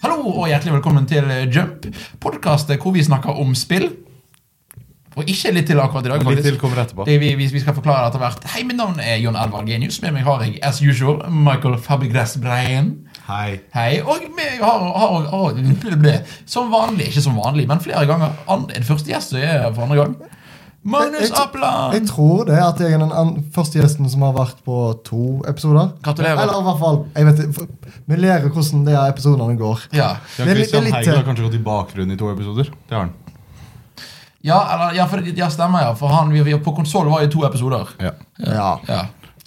Hallo og hjertelig velkommen til Jump, podkastet hvor vi snakker om spill. Og ikke litt til akkurat i dag. Litt faktisk. til kommer etterpå. Det vi, vi, vi skal forklare etter hvert. Hei, mitt navn er Jon Edvard Genius. Med meg har jeg as usual Michael Fabregas Breien. Hei. Hei. Og med, har, har, har, ble, ble, som vanlig, ikke som vanlig, men flere ganger. An, en første gjest som er for andre gang. Magnus Jeg- jeg- Jeg Appeland! tror det at jeg er den an- første gjesten som har vært på to episoder. Gratulerer. Eller i hvert fall, jeg vet ikke, for- Vi lærer hvordan de her episodene går. Ja. Ja, Det er litt- Christian det er litt- Heigel har kanskje gått i bakgrunnen i to episoder. Det har han. Ja, eller, ja, for, ja, stemmer, ja. For han, vi, vi, på konsoll var det to episoder. Ja. Ja. Ja.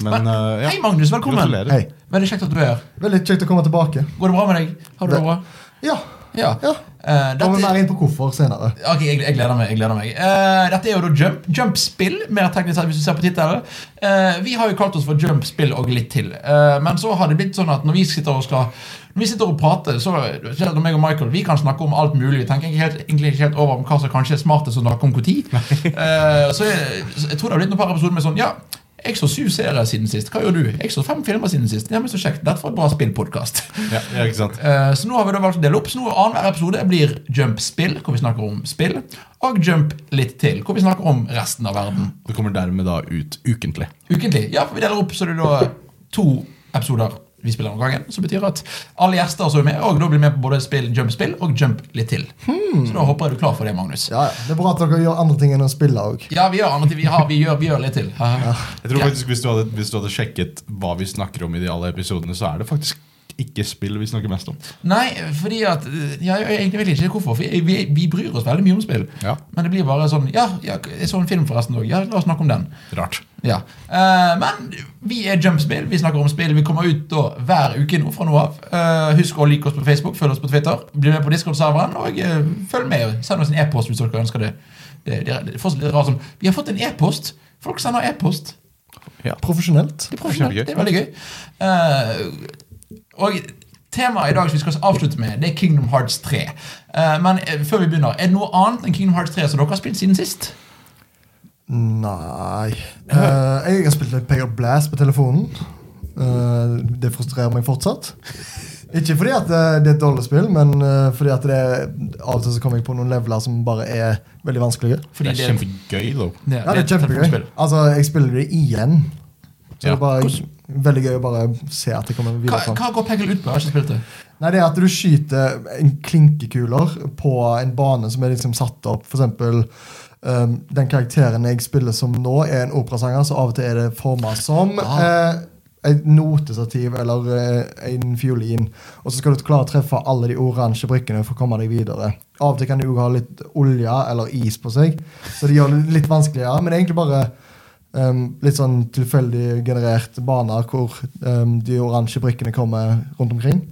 Men, eh, ja. Hei, Magnus. Velkommen. Gratulerer. Hei. Veldig kjekt at du er her. Veldig kjekt å komme tilbake. Går det bra med deg? Har du det Det- bra? Ja. Ja. ja. Eh, Kommer mer dette, inn på hvorfor senere. ok, jeg, jeg gleder meg. jeg gleder meg Eh, Dette er jo da jump, jumpspill, mer teknisk sett hvis du ser på tittelen. Eh, vi har jo kalt oss for jumpspill og litt til. Eh, men så har det blitt sånn at når vi sitter og skal Når vi sitter og prater, så selv om meg og Michael Vi kan snakke om alt mulig. Vi tenker ikke helt, egentlig ikke helt over om hva som kanskje er smartest å snakke om når. Eh, så jeg, så jeg tror det har blitt noen par episoder med sånn Ja, jeg så syv serier siden sist. Hva gjør du? Jeg så fem filmer siden sist. Ja, men så kjekt. Dette var et bra spillpodkast. Ja, ja, ikke sant? Eh, Så nå har vi da valgt å dele opp. Så nå Annenhver episode blir Jump-spill, hvor vi snakker om spill, og Jump litt til, hvor vi snakker om resten av verden. Det kommer dermed da ut ukentlig. Ukentlig. Ja, for vi deler opp så det er da to episoder vi spiller om gangen. Som betyr at alle gjester som er med, og da blir med på både spill, Jump-spill og Jump litt til. Så da håper jeg du er klar for det, Magnus. Ja, ja. Det er bra at dere gjør andre ting enn å spille òg. Ja, vi gjør annet. Vi, har, vi, gjør, vi gjør litt til. Jeg tror Ja. faktisk hvis du, hadde, hvis du hadde sjekket hva vi snakker om i de alle episodene, så er det faktisk ikke spill vi snakker mest om. Nei, fordi at ja, Jeg egentlig vet ikke hvorfor. For vi, vi bryr oss veldig mye om spill. Ja. Men det blir bare sånn Ja, ja jeg så en film forresten òg. Ja, la oss snakke om den. Rart. Ja. Eh, men vi er Jumpspill. Vi snakker om spill. Vi kommer ut da hver uke nå fra nå av. Eh, husk å like oss på Facebook, følg oss på Twitter, bli med på Discord-serveren, og eh, følg med. Send oss en e-post hvis dere ønsker det. Det, det, er- det er fortsatt litt rart sånn Vi har fått en e-post! Folk sender e-post. Ja. Profesjonelt. Det er profesjonelt. Kjempegøy. Det er veldig gøy. Eh, og temaet i dag som vi skal avslutte med, det er Kingdom Hearts 3. Eh, men eh, før vi begynner, er det noe annet enn Kingdom Hearts 3 som dere har spilt siden sist? Nei Eh, Jeg har spilt litt Pay of Blast på telefonen. Eh, det frustrerer meg fortsatt. Ikke fordi at eh, det er et dårlig spill, men eh, fordi at det er, av og til så kommer jeg på noen leveler som bare er veldig vanskelige. Det er kjempegøy, though. Ja, det er et kjempegøy. telefonspill. Altså, jeg spiller det igjen. Så det Ja. er bare veldig gøy å bare se at det kommer Hva, videre fram. hva går Peggle ut på? Jeg har ikke spilt det. Nei, det er at du skyter en klinkekuler på en bane som er liksom satt opp. For eksempel um, den karakteren jeg spiller som nå, er en operasanger, så av og til er det forma som Ah. eh, et notesativ eller eh, en fiolin. Og så skal du klare å treffe alle de oransje brikkene for å komme deg videre. Av og til kan de jo ha litt olje eller is på seg, så det gjør det litt vanskeligere. Men det er egentlig bare um, litt sånn tilfeldig genererte baner hvor um, de oransje brikkene kommer rundt omkring.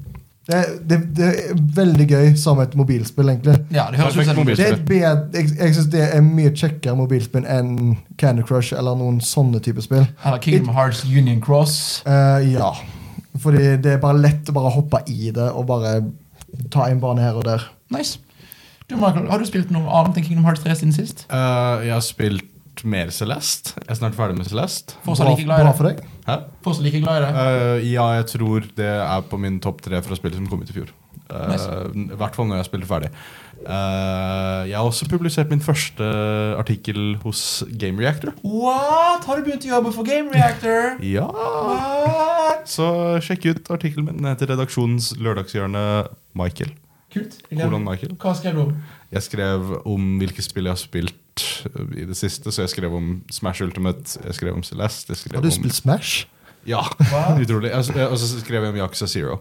Det, det, det er veldig gøy som et mobilspill, egentlig. Ja, det høres ut Perfekt som mobil. Det er et bed, jeg jeg syns det er mye kjekkere mobilspill enn Candy Crush eller noen sånne type spill. Eller Kingdom Hearts Union Cross. Eh, ja. Fordi det er bare lett å bare hoppe i det og bare ta en bane her og der. Nice. Du, Michael, har du spilt noe annet enn Kingdom Hearts 3 siden sist? Eh, jeg har spilt mer Celeste. Jeg er snart ferdig med Celeste. Fortsatt Bra- like glad i Bra det. for deg. Hæ? Fortsatt like glad i det. Eh, ja, jeg tror det er på min topp tre fra spillet som kom ut i fjor. Eh, Nice. I hvert fall når jeg spilte ferdig. Eh, jeg har også publisert min første artikkel hos Game Reactor. What? Har du begynt å jobbe for Game Reactor? Ja! What? Så sjekk ut artikkelen min. Den heter 'Redaksjonens lørdagshjørne Michael'. Kult. Jeg gleder Hvordan meg. Michael? Hva skrev du om? Jeg skrev om hvilke spill jeg har spilt eh, i det siste. Så jeg skrev om Smash Ultimate, jeg skrev om Celeste jeg skrev Har om... du spilt Smash? Ja, Wow. utrolig. Jeg- jeg- Og så skrev jeg om Yakuza Zero.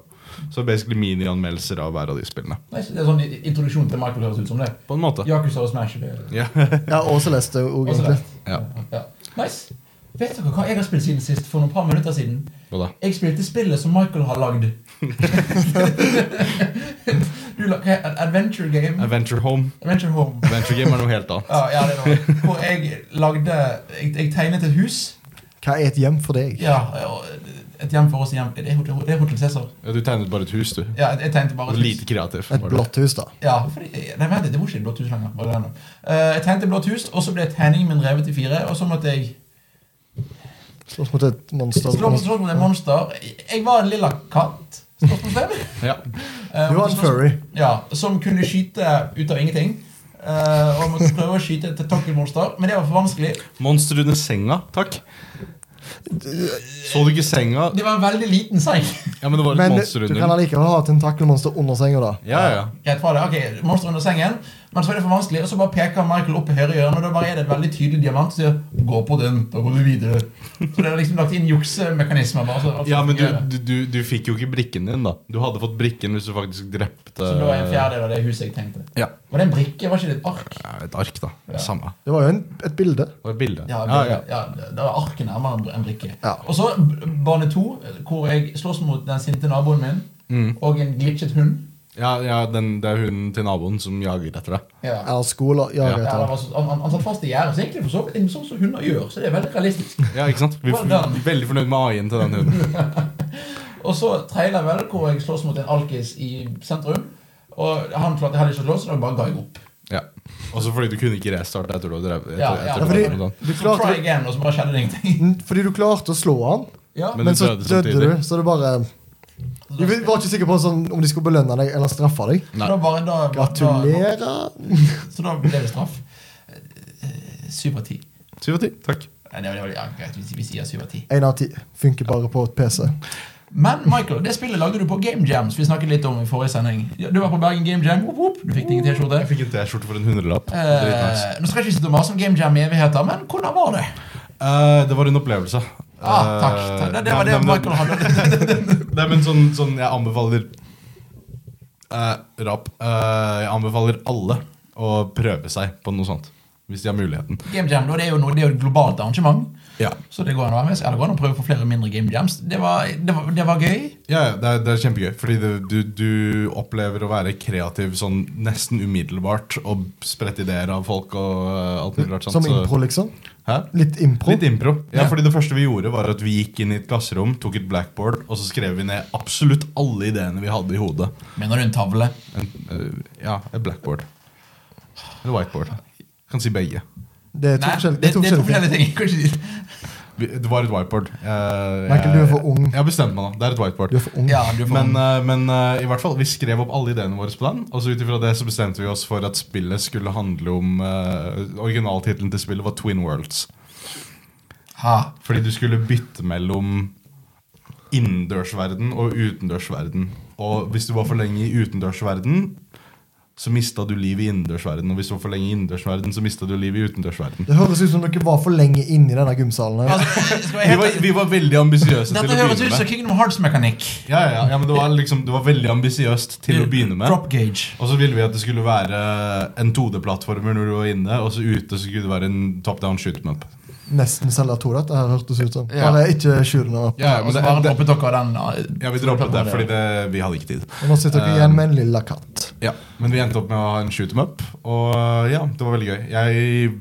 Så basically minianmeldelser av hver av de spillene. Nice. Det er sånn introduksjon til Michael høres ut som det. På en måte. Yakuza og Smash. Det. Ja. Ja, og Celeste òg, Også egentlig. det. Ja. Ja. Nice. Vet dere hva jeg har spilt siden sist? For noen par minutter siden. Hva da? Jeg spilte spillet som Michael har lagd. du lagde Adventure Game. Adventure Home. Adventure Home. Adventure Game er noe helt annet. Ja, ja, det var det. Hvor jeg lagde jeg, jeg tegnet et hus. Hva er et hjem for deg? Ja, og Et hjem for oss hjem. Det er Hotel, det er Hotel Cæsar. Ja, du tegnet bare et hus, du. Ja, jeg, jeg tegnet bare Og et hus. Lite kreativ. Et var du. blått hus, da. Ja, fordi, nei, vent, det var ikke et blått hus lenger. Bare det nå. Eh, jeg tegnet et blått hus, og så ble tegningen min revet i fire. Og så måtte jeg Slåss mot et monster. slå på slå på et monster. Jeg var en lilla katt. Spørsmålstegn. Ja. Eh, Du var og en så- furry. Ja, som kunne skyte ut av ingenting. Eh, og måtte prøve å skyte et tentakelmonster, men det var for vanskelig. Monster under senga, takk. Så du ikke senga? Det var en veldig liten seng. Ja, men det var et Men monster du under. kan allikevel ha tentakelmonster under senga, da. Ja, ja. Eh, Greit var det, ok, monster under sengen Men så er det for vanskelig, og så bare peker Michael opp i høyre hjørne Og da bare er det et veldig tydelig diamant som sier Gå på den, da går du videre Så det er liksom lagt inn juksemekanismer bare, så, ja men du, du, du, du fikk jo ikke brikken din, da. Du hadde fått brikken hvis du faktisk drepte Så det var en fjerdedel av det huset jeg tenkte Ja. Var det en brikke, var ikke det et ark? Ja, Et ark, da. Ja. Samme. Det var jo en, et bilde. Og et bilde. Ja, ja, ja. ja, det var arket nærmere en- en brikke Ja. Og så b- bane 2, hvor jeg slåss mot den sinte naboen min Mm. Og en glitchet hund ja, ja den, det er hunden til naboen som jager etter deg. Ja, ja Eller skoler. Ja, Ja. jeg det vet det. var så, han, han- han satt fast i gjerdet, så egentlig for så vidt Sånn som hunder gjør, så det er veldig realistisk Ja, ikke sant? Vi Well done. er veldig fornøyd med AI-en til den hunden. Og så trailer vel hvor jeg slåss mot en alkis i sentrum. Og han klarte jeg hadde ikke slåss, så da bare ga jeg opp. Ja. Også fordi du kunne ikke restarte etter du hadde drevet. Ja, ja. etter- etter Ja, du fordi, hadde drevet den. du Så try klarte, again, og så bare skjedde det ingenting. Mm, fordi du klarte å slå han, Ja, Men men, du så døde døde du. samtidig. Så det bare Du var ikke sikker på sånn, om de skulle belønne deg eller straffe deg. så da bare, da, da, Gratulerer. Så da ble det straff. Eh, Syv av ti. Syv av ti. Takk. Nei, det var- det var- Ja, greit, vi- vi sier syv av ti. Én av ti funker bare på et PC. Men Michael, det spillet lagde du på Game Jams. Vi snakket litt om i forrige sending. Ja, Du var på Bergen Game Jam. Whoop, whoop. Du fikk deg en T-skjorte. Jeg fikk en T-skjorte for en hundrelapp. Dritnice. Eh, nå skal jeg ikke sitte og mase om Game Jam i evigheter, men hvordan var det? Eh, det var en opplevelse. Ah, takk. Eh, takk. Det, det var nei, det men- Michael hadde. Nei, men sånn, sånn jeg anbefaler eh, Rap. eh, jeg anbefaler alle å prøve seg på noe sånt. Hvis de har muligheten. Game Jam da, det er jo, noe, det er jo et globalt arrangement. Ja, Så det går an å være med. Så ja, det går an å prøve på flere mindre game jams. Det var, det var, det var gøy. ja ja, det, er, det er kjempegøy. Fordi det, du, du opplever å være kreativ sånn nesten umiddelbart. Og sprette ideer av folk og eh, alt mulig rart. sånt, Som så- impro, liksom. Hæ? Litt impro. Litt impro. Ja, Ja. fordi Det første vi gjorde, var at vi gikk inn i et klasserom, tok et blackboard, og så skrev vi ned absolutt alle ideene vi hadde i hodet. Mener du en tavle? En, eh, ja, et blackboard. Eller whiteboard. Kan si begge. Det er to forskjellige- det er to forskjellige ting. forskjellige ting. Kanskje, Vi- Det var et whiteboard. Eh, Michael, du er for jeg- ung. Jeg bestemte meg nå. Det er et whiteboard. Du er for ung. ja, du får Men, eh, men eh, i hvert fall, vi skrev opp alle ideene våre på den. Og så ut ifra det så bestemte vi oss for at spillet skulle handle om uh, Originaltittelen til spillet var Twin Worlds. ha. Fordi du skulle bytte mellom innendørsverden og utendørsverden. Og hvis du var for lenge i utendørsverden, så mista du livet i innendørsverden. Og hvis du var for lenge i innendørsverden, så mista du livet i utendørsverden. Det høres ut som dere var for lenge inne i denne gymsalen. her. Altså, skal jeg Vi helt, var, vi var veldig ambisiøse til å dette høres ut begynne som med. Kingdom Hearts-mekanikk. Ja, ja, ja, men det var, liksom, det var veldig ambisiøst til å begynne med. Drop gauge. Og så ville vi at det skulle være en 2D-plattformer når du var inne, og så ute så skulle det være en top down shoot map. Nesten Selda 2, dette her hørtes ut som. Ja. Eller ikke skjul nå. Ja, ja, Og men så det, bare det, droppet dere den. ja. ja, vi droppet det fordi det, vi hadde ikke tid. Og Nå sitter dere Um, igjen med en lilla katt. Ja, Men vi endte opp med å ha en shoot 'em up, og eh, ja, det var veldig gøy. Jeg,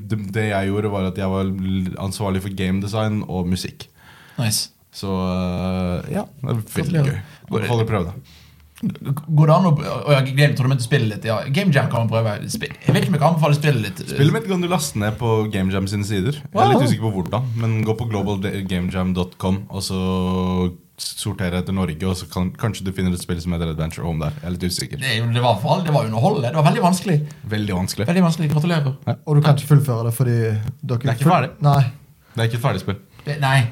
det, det jeg gjorde, var at jeg var l- ansvarlig for gamedesign og musikk. Nice. Så øh, ja, det var veldig gøy. Anbefaler å prøve det. Går det an å Å, ja, Game Tournament spille litt? Ja. Game Jam kan man prøve. Spill. Jeg vet ikke om jeg kan anbefale spillet litt. Spillet mitt kan du laste ned på GameJam sine sider. Jeg er litt usikker på hvordan, men gå på globalgamejam.com, og så sortere etter Norge, og så kan, kanskje du finner et spill som heter Adventure Home der. Jeg er litt usikker. Det, er jo- det var for all- det var underholdende. Det var veldig vanskelig. Veldig vanskelig. Veldig vanskelig. Gratulerer. Og du kan ikke fullføre det fordi dere Det er ikke ferdig. Nei. Det er ikke et ferdig spill. Det, Eh, nei,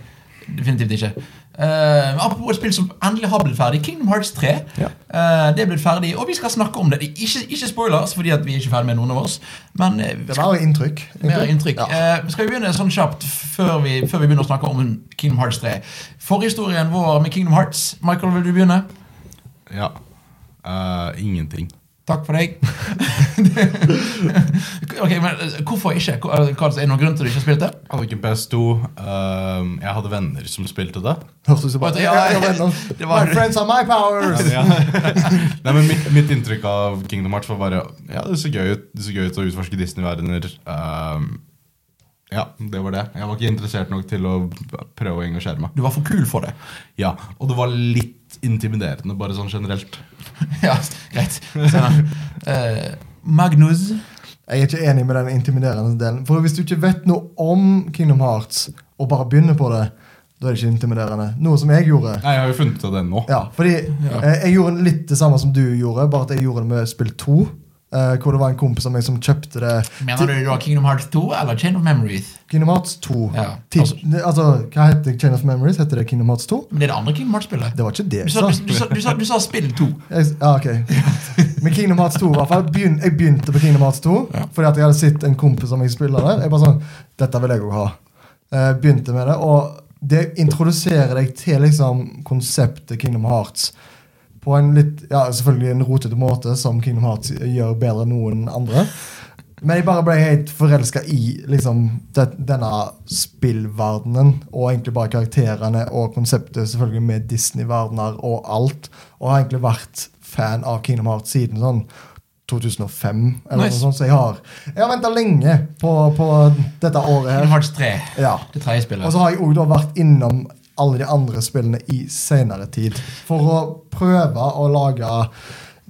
definitivt ikke. Eh, men apropos et spill som endelig har blitt ferdig. Kingdom Hearts 3. Ja. Eh, det er blitt ferdig, og vi skal snakke om det. Ikke, ikke spoilers, fordi at vi er ikke ferdig med noen av oss. Men eh, vi Det skal, var inntrykk. mer inntrykk. Eh, Ja. skal vi begynne sånn kjapt før vi, før vi begynner å snakke om Kingdom Hearts 3? Forhistorien vår med Kingdom Hearts. Michael, vil du begynne? Ja. Eh, ingenting. Takk for deg. ok, men eh, Hvorfor ikke? Hva- eh, hva- Er det noen grunn til at du ikke har spilt det? Hadde ikke en PS2. ehm, jeg hadde venner som spilte det. Hørtes ut som bare Ja, ja, ja, ja, det var- My friends are my powers! Nei, men mitt, mitt inntrykk av Kingdom Hearts var bare Ja, det ser gøy ut, det ser gøy ut å utforske Disney-verdener. Ehm, ja, det var det. Jeg var ikke interessert nok til å prøve å engasjere meg. Du var for kul for det. Ja, Og det var litt intimiderende, bare sånn generelt. ja, greit. Senere. Eh, Magnus. Jeg er ikke enig med den intimiderende delen. For hvis du ikke vet noe om Kingdom Hearts, og bare begynner på det, Da er det ikke intimiderende. Noe som jeg gjorde. Nei, jeg har jo funnet ut av den nå. Ja, fordi eh, Jeg gjorde litt det samme som du gjorde, bare at jeg gjorde det med spill 2. eh, hvor det var en kompis av meg som kjøpte det Mener du da Kingdom Hearts 2 eller Chain of Memories? Kingdom Hearts 2. Ja, Ti- altså- ne- altså, hva heter det? Chain of Memories? Heter det Kingdom Hearts 2? Men det er det andre Kingdom Hearts-spillet. Det var ikke det Du jeg sa, sa. du, du, sa, du, sa, du sa spill 2. Jeg, ja, ok. Men Kingdom Hearts 2, i hvert fall. Begyn, jeg begynte på Kingdom Hearts 2 fordi at jeg hadde sett en kompis som jeg spiller der. Jeg bare sånn, dette vil jeg også ha. Eh, begynte med det, og det introduserer deg til liksom konseptet Kingdom Hearts. På en litt, ja, selvfølgelig en rotete måte, som Kingdom Hearts gjør bedre enn noen andre. Men jeg bare ble helt forelska i liksom, det, denne spillverdenen. Og egentlig bare karakterene og konseptet selvfølgelig med Disney-verdener og alt. Og har egentlig vært fan av Kingdom Hearts siden sånn 2005. Eller Nice. noe sånt, så jeg har, jeg har venta lenge på, på dette året Kingdom her. Hearts 3. Ja. Altså- Det tredje Og spillet. så har jeg også da vært innom alle de andre spillene i senere tid. For å prøve å lage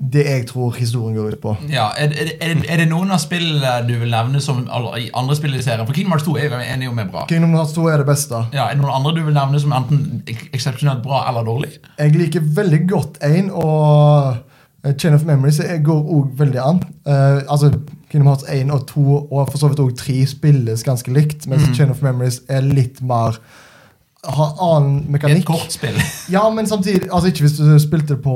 det jeg tror historien går ut på. Ja, er, er, er, det- er det noen av spillene du vil nevne som alle, i andre spill i serien? For Kingdom Hearts 2 er jeg enig om er bra. Kingdom Hearts 2 er det beste. Ja, er det noen andre du vil nevne som enten ek- eksepsjonelt bra eller dårlig? Jeg liker veldig godt én, og eh, Chain of Memories jeg går òg veldig an. Eh, altså, Kingdom Hearts 1 og 2 og for så vidt òg 3 spilles ganske likt, mens Chain of Memories er litt mer har annen Det er et mekanikk. kortspill. Ja, men samtidig altså Ikke hvis du spilte det på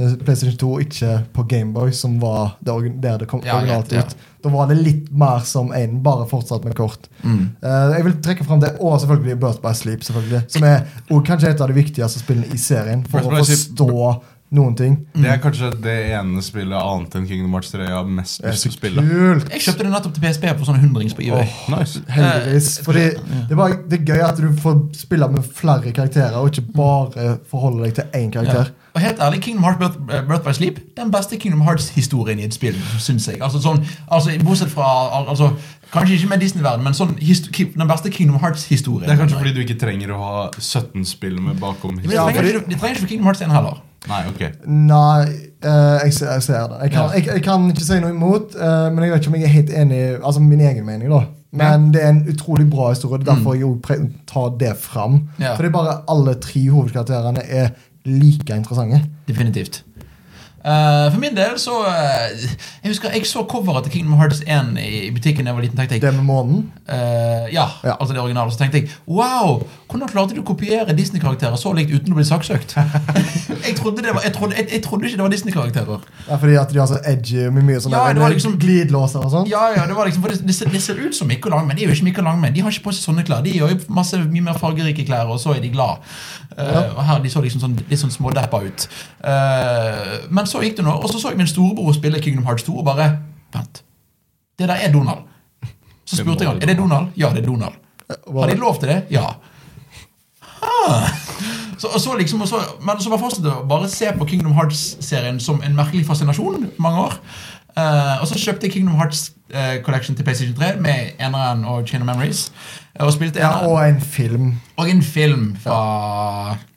eh, PlayStation 2, ikke på Gameboy, som var det orgi- der det kom Ja, originalt greit, ja. ut. Da var det litt mer som én, bare fortsatt med kort. Mm. Eh, jeg vil trekke fram det, og selvfølgelig Birth by Sleep, selvfølgelig, som er og kanskje et av de viktigste spillene i serien for Birth å by Sleep- forstå noen ting. Det er kanskje det ene spillet annet enn Kingdom Hearts 3 jeg har mest Det er lyst så til å spille. kult! Jeg kjøpte det nettopp til PSP på sånne hundrings på eBay. Nice. Heldigvis. Eh, Fordi det, var, det er gøy at du får spille med flere karakterer, og ikke bare forholde deg til én Ja. karakter. Og helt ærlig, Kingdom Hearts Birth, eh, Birth by Sleep den beste Kingdom Hearts-historien i et spill. Synes jeg Altså sånn, altså Bortsett fra al- altså, Kanskje ikke med Disney-verden, men sånn, histo- ki- den beste Kingdom Hearts-historien. Det er kanskje fordi du ikke trenger å ha 17 spill med bakom Men det historien. Ja, trenger, fordi- ikke, det trenger ikke for Kingdom Hearts 1 heller. Nei, ok. Nei, eh, jeg, ser, jeg ser det. Jeg kan, Ja. jeg, jeg kan ikke si noe imot, eh, men jeg vet ikke om jeg er helt enig Altså min egen mening, da. Men det er en utrolig bra historie. Det er derfor jeg jo pre- tar det fram. Mm. Ja. Fordi bare alle tre hovedkarakterene er like interessante. Definitivt. Eh, for min del så eh, Jeg husker jeg så coveret til Kingdom Hearts 1 i, i butikken da jeg var liten. tenkte jeg Det med månen. Eh, ja, Ja. altså det originale. Så tenkte jeg wow, hvordan klarte du å kopiere Disney-karakterer så likt uten å bli saksøkt? jeg, trodde det var, jeg, trodde, jeg, jeg trodde ikke det var Disney-karakterer. Det er fordi at de har så edgy med mye sånn Ja, der- det var liksom- glidelåser og sånn. Ja, ja, Det var liksom, for det, det, ser, det ser ut som Mikko Langmann. De er jo ikke Mikko Langmann. De har ikke på seg sånne klær. De gjør jo masse mye mer fargerike klær, og så er de glad. Eh, og her de så liksom sånn, litt sånn smådeppa ut. Eh, men så gikk det nå, og så så jeg min storebror spille Kingdom Hearts 2 og bare Vent. Det der er Donald. Så Det spurte må jeg han, være er det Donald. Ja, det er Donald. hva- Har de lov til det? Ja. Ah. Så, og så liksom, og så, men så bare fortsatte jeg å bare se på Kingdom Hearts-serien som en merkelig fascinasjon mange år. Eh, og så kjøpte jeg Kingdom Hearts eh, Collection til PlayStation 3 med eneren og Chain of Memories. eh, Og spilte Ja, eneren. og en film. Og en film fra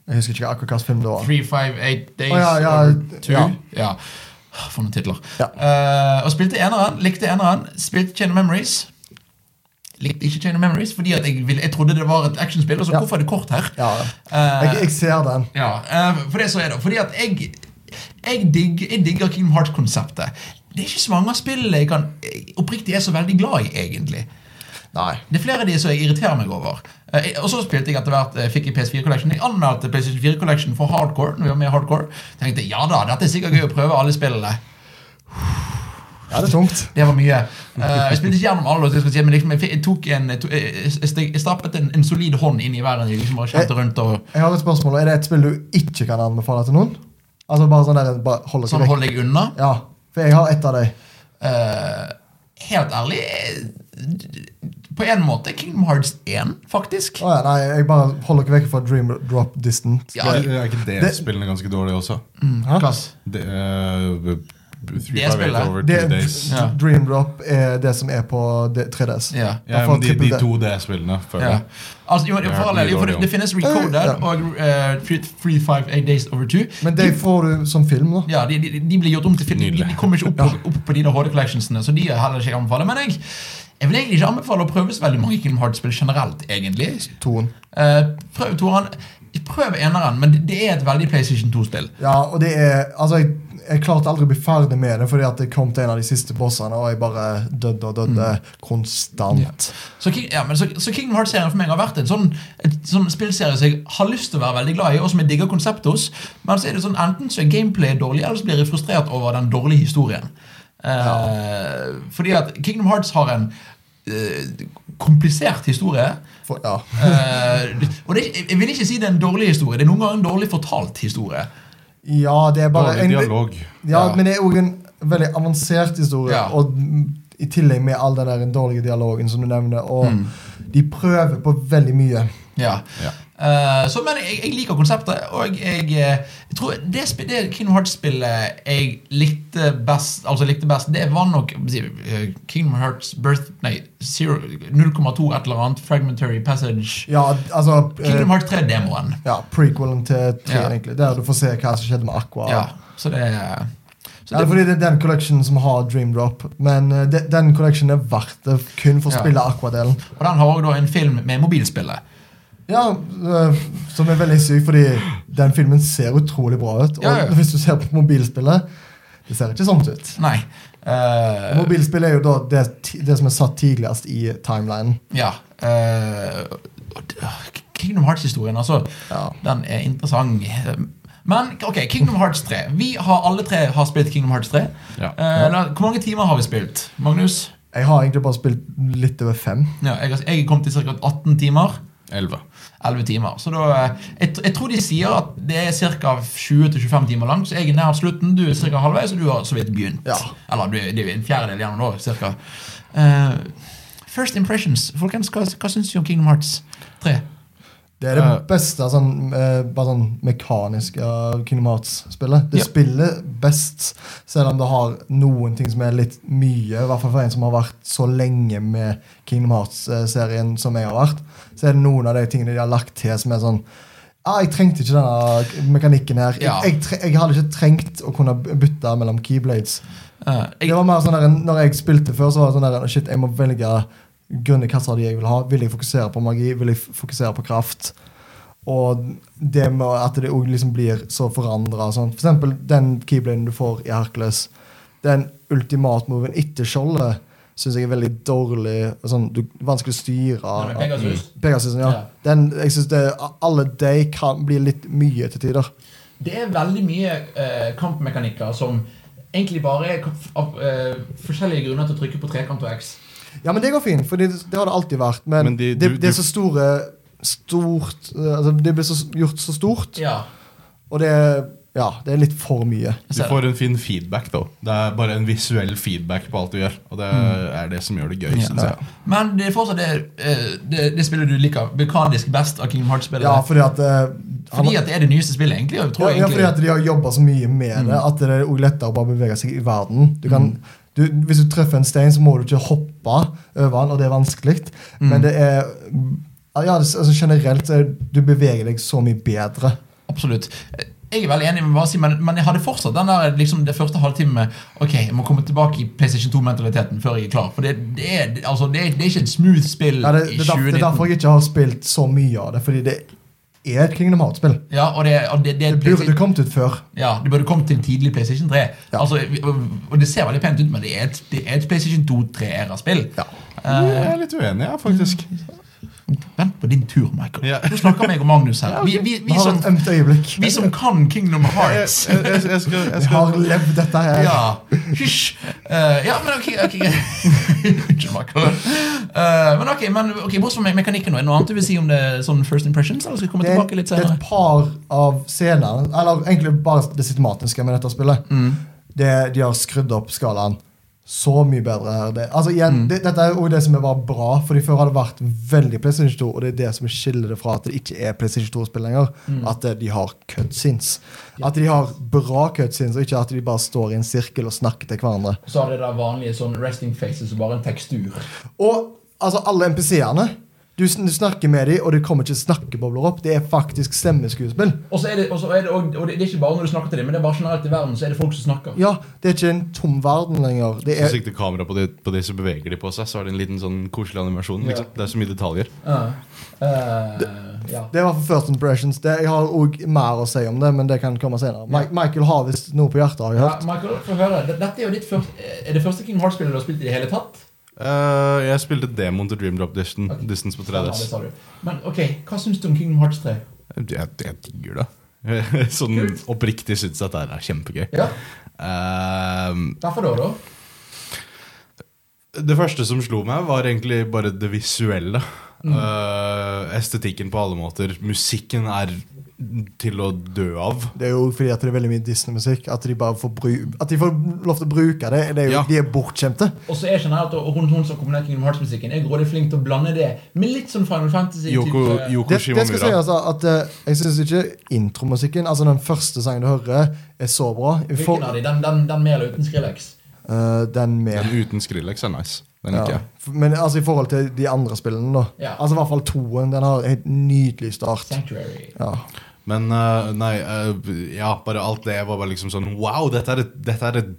Jeg husker ikke akkurat hvilken film det var. 358 Days Å, ja, ja, Over Two. ja. Ja. For noen titler. Ja. Eh, og spilte eneren, likte eneren, spilte Chain of Memories. Likte ikke Chain of Memories fordi at jeg, ville, jeg trodde det var et actionspill. Og så Ja. hvorfor er det kort her? Ja. Eh, Jeg, jeg ser den. ja, eh, for det så er det. Fordi at jeg, jeg, digg, jeg digger Kingdom Hearts-konseptet. Det er ikke så mange av spillene jeg kan jeg oppriktig er så veldig glad i, egentlig. Nei. Det er flere av de som jeg irriterer meg over. Eh, jeg- Og så spilte jeg etter hvert eh, fikk jeg PS4 Collection. Jeg anmeldte PlayStation 4 Collection for hardcore. Når vi var med i hardcore Tenkte ja da, dette er sikkert gøy å prøve alle spillene. Ja, det er tungt. Det var mye. Eh, jeg spilte ikke gjennom alle, så jeg skal si, men liksom, jeg, fikk- jeg, tok en, jeg, tok- jeg, jeg, jeg stappet en, en solid hånd inn i verden. Jeg liksom bare kjente rundt og Jeg har et spørsmål. Er det et spill du ikke kan anbefale til noen? Altså bare sånn der, bare holde Sånn holder jeg unna. Ja, for jeg har ett av dem. Eh, helt ærlig eh, På en måte Kingdom Hearts 1, faktisk. Å ja, nei, jeg bare holder dere vekk fra Dream Drop Distant. Mm. Ja, Det- Er ikke det Det- spillene ganske dårlige også? Hæ? Klass. Det, uh, Det spillet. Over Det, two days. Ja. Dream Drop er det som er på D- 3DS. Ja. Ja, for men de, de triple D. to D-spillene. føler Ja. jeg. Altså, jo, Det er for all del, jo, for det, mye det finnes Recoded Ja. og eh, Three- Three, Five, Eight Days Over Two. Men det får du som film, da. Ja, de, de, de blir gjort om til film. De, Nydelig. de kommer ikke opp på, opp på de der HD-collectionsene, så de er heller ikke jeg anbefaler. Men jeg, Jeg vil egentlig ikke anbefale å prøve så veldig mange Kingdom Hearts-spill generelt, egentlig. Toen. Eh, prøv toeren. Prøv eneren, men det- det er et veldig PlayStation 2-spill. Ja, og det er Altså, jeg, jeg klarte aldri å bli ferdig med det fordi at jeg kom til en av de siste bossene, og jeg bare døde og døde konstant. Så, King, Mm. ja, men så, så Kingdom Hearts-serien for meg har vært en sånn, et, sånn spillserie som jeg har lyst til å være veldig glad i, og som jeg digger konseptet hos. Men så er det sånn, enten så er gameplay dårlig, eller så blir jeg frustrert over den dårlige historien. Eh, Fordi at Kingdom Hearts har en eh, komplisert historie. For, ja. Eh, og det, er ikke- jeg vil ikke si det er en dårlig historie, det er noen ganger en dårlig fortalt historie. ja, det er bare Dårlig dialog. Ja, Ja. men det er òg en veldig avansert historie. Ja. Og mm, i tillegg med all den der dårlige dialogen som du nevner. Og Mm. de prøver på veldig mye. Ja. Ja. Eh, så, men jeg, jeg liker konseptet, og jeg, eh, jeg tror det, spi- det Kingdom Hearts-spillet jeg likte best, altså likte best, det var nok hva sier vi, eh, Kingdom Hearts Birth Nei, zero- 0,2 et eller annet, Fragmentary Passage. Ja, altså eh, Kingdom Hearts 3-demoen. ja, Prequelen til tre, Ja. egentlig. Der du får se hva som skjedde med Aqua. Ja, så det er- så Ja, det er det, fordi det er den collectionen som har Dream Drop. Men eh, de, den collectionen er verdt det kun for å Ja. spille Aqua-delen. og den har også da en film med mobilspillet. Ja, eh, Som er veldig syk, fordi den filmen ser utrolig bra ut. Og Ja, ja. hvis du ser på mobilspillet, det ser ikke sånn ut. Nei. eh, Mobilspill er jo da det, ti- det som er satt tidligst i timelinen. ja. eh, og det- åh, Kingdom Hearts-historien, altså. Ja. Den er interessant. Men ok, Kingdom Hearts 3. Vi har alle tre har spilt Kingdom Hearts 3. Ja. Eh, la- hvor mange timer har vi spilt, Magnus? Jeg har egentlig bare spilt litt over fem. Ja, jeg, har- jeg er kommet til ca. 18 timer. 11. 11 timer. Så da, eh, jeg, tr- jeg tror de sier at det er ca. 20-25 timer langt, så jeg er nær slutten. Du er ca. halvveis, og du har så vidt begynt. Ja. Eller du, er- det er en fjerdedel gjennom da, ca. Eh, first impressions. Folkens, hva, hva syns du om Kingdom Hearts 3? Det er det Ja. beste sånn, eh, bare sånn mekanisk av Kingdom Hearts-spillet. Det Ja. spiller best, selv om det har noen ting som er litt mye. I hvert fall for en som har vært så lenge med Kingdom Hearts-serien som jeg har vært. Så er det noen av de tingene de har lagt til som er sånn ah, Jeg trengte ikke denne mekanikken her. Ja. Jeg, jeg, tre jeg hadde ikke trengt å kunne bytte mellom keyblades. Eh, jeg- Det var mer sånn der, Når jeg spilte før, så var det sånn der Shit, jeg må velge grønne kasser de jeg vil ha. Vil jeg fokusere på magi? Vil jeg f- fokusere på kraft? Og det med at det òg liksom blir så forandra. Sånn. For eksempel den keybladen du får i Hercules. Den ultimatmoven etter skjoldet syns jeg er veldig dårlig. og Sånn, du, vanskelig å styre. Ja, men Pegasus. Pegasusen, ja. Ja. Den, jeg synes det, alle de kan bli litt mye til tider. Det er veldig mye eh, kampmekanikker som egentlig bare er k- av eh, forskjellige grunner til å trykke på trekant og X. Ja, men det går fint, for det, det har det alltid vært. Men, Men de- det, du- det er du- så store Stort eh, altså Det blir så, gjort så stort, Ja. og det er, ja, det er litt for mye. Jeg Du ser får en fin feedback, da. Det er bare en visuell feedback på alt du gjør. Og det er det som gjør det gøy. Ja. Synes jeg. Men det er fortsatt det, eh, det, det spillet du liker mekanisk best av Kingdom Hearts-spillet. Ja, fordi at eh, han- fordi at det er det nyeste spillet, egentlig. og Jeg tror ja, ja, fordi egentlig at de har jobba så mye med det at det er også lettere å bare bevege seg i verden. Du kan, du, hvis du treffer en stein, så må du ikke hoppe over den, og det er vanskelig. Men det er ja, det, altså generelt så er, du beveger deg så mye bedre. Absolutt. Eh, Jeg er veldig enig med hva jeg sier, men, men jeg hadde fortsatt den der, liksom, det første halvtimen med Ok, jeg må komme tilbake i PlayStation 2-mentaliteten før jeg er klar. For det, det, er, altså, det, er, det er ikke et smooth spill Ja, det, i det, er derfor, det 2019. er derfor jeg ikke har spilt så mye av det, fordi det er et Kingdom Hearts-spill. ja, og det, og det, det er Det et burde kommet ut før. Ja, Det burde kommet til tidlig PlayStation 3. Ja. Altså, vi- og Det ser veldig pent ut, men det er et, det er et PlayStation 2-3-era-spill. Ja. Jeg er litt uenig, jeg, faktisk. Vent på din tur, Michael. Ja. Nå snakker meg og Magnus her. Vi, vi, vi, Vi har som, et ømt øyeblikk. vi som kan Kingdom Jeg, Hearts. jeg, jeg, jeg skal, jeg Vi har skal levd dette her. Ja. Hysj. Eh, ja, men ok. ok. Unnskyld, Michael. Eh, men ok, men ok, Bortsett fra mekanikken, nå, er det noe annet du vil si om det sånn First Impressions? Eller skal vi komme Det er, tilbake litt det er senere? et par av scenene Eller egentlig bare det cinematiske med dette spillet. Det, de har skrudd opp skalaen så mye bedre. her det, altså igjen, det, Dette er jo det som var bra, Fordi før har det vært veldig PlayStation 2, og det er det som skiller det fra at det ikke er PlayStation 2-spill lenger. At eh, de har cutscenes. At de har bra cutscenes, og ikke at de bare står i en sirkel og snakker til hverandre. Så har det der vanlige sånn resting faces og bare en tekstur. Og altså, alle NPC-ene. Du Du, sn- du snakker med dem, og det kommer ikke snakkebobler opp. Det er faktisk stemmeskuespill. Og så er det, og så er det, og, og det, det er ikke bare når du snakker til dem, men det er bare generelt i verden så er det folk som snakker. Ja, det er ikke en tom verden lenger. Det Så er, sikter kameraet på, det- på det, så beveger de på seg. Så er det en liten sånn koselig animasjon. Liksom. Det er så mye detaljer. Ja. Eh, ja. det er i hvert fall first impressions. Det, jeg har også mer å si om det, men det kan komme senere. Mi- Michael har visst noe på hjertet, har jeg ja, hørt. Michael, få høre. D- Dette er jo ditt første, er det første King Hearts-spillet du har spilt i det hele tatt? Eh, jeg spilte demoen til Dream Drop Distance, Ok. Distance på Ja, det 3DS. sa du. Men ok, hva syns du om Kingdom Hearts 3? Jeg, jeg digger det. sånn oppriktig syns jeg at det her er kjempegøy. Ja, Eh, Derfor da, da? det første som slo meg, var egentlig bare det visuelle. Mm. Eh, estetikken på alle måter. Musikken er til å dø av. Det er jo fordi at det er veldig mye Disney-musikk. At de bare får bru At de får lov til å bruke det. det er jo, Ja. De er bortskjemte. Og så er generelt, og hun, hun som kombinerer Kingdom Hearts-musikken, er grådig flink til å blande det med litt sånn Final Fantasy. Yoko, type- Yoko Det, det skal Shimomura. sies altså, at eh, jeg syns ikke intromusikken, altså den første sangen du hører, er så bra. For, Hvilken av de? Den, den, den med eller uten Skrillex? eh, den med Den uten Skrillex er nice. Den liker ja. jeg. Men altså i forhold til de andre spillene, da. Ja. Altså i hvert fall toen. Den har helt nydelig start. Sanctuary. Ja. Men eh, nei, eh, ja, bare alt det var bare liksom sånn Wow, dette er et, dette er et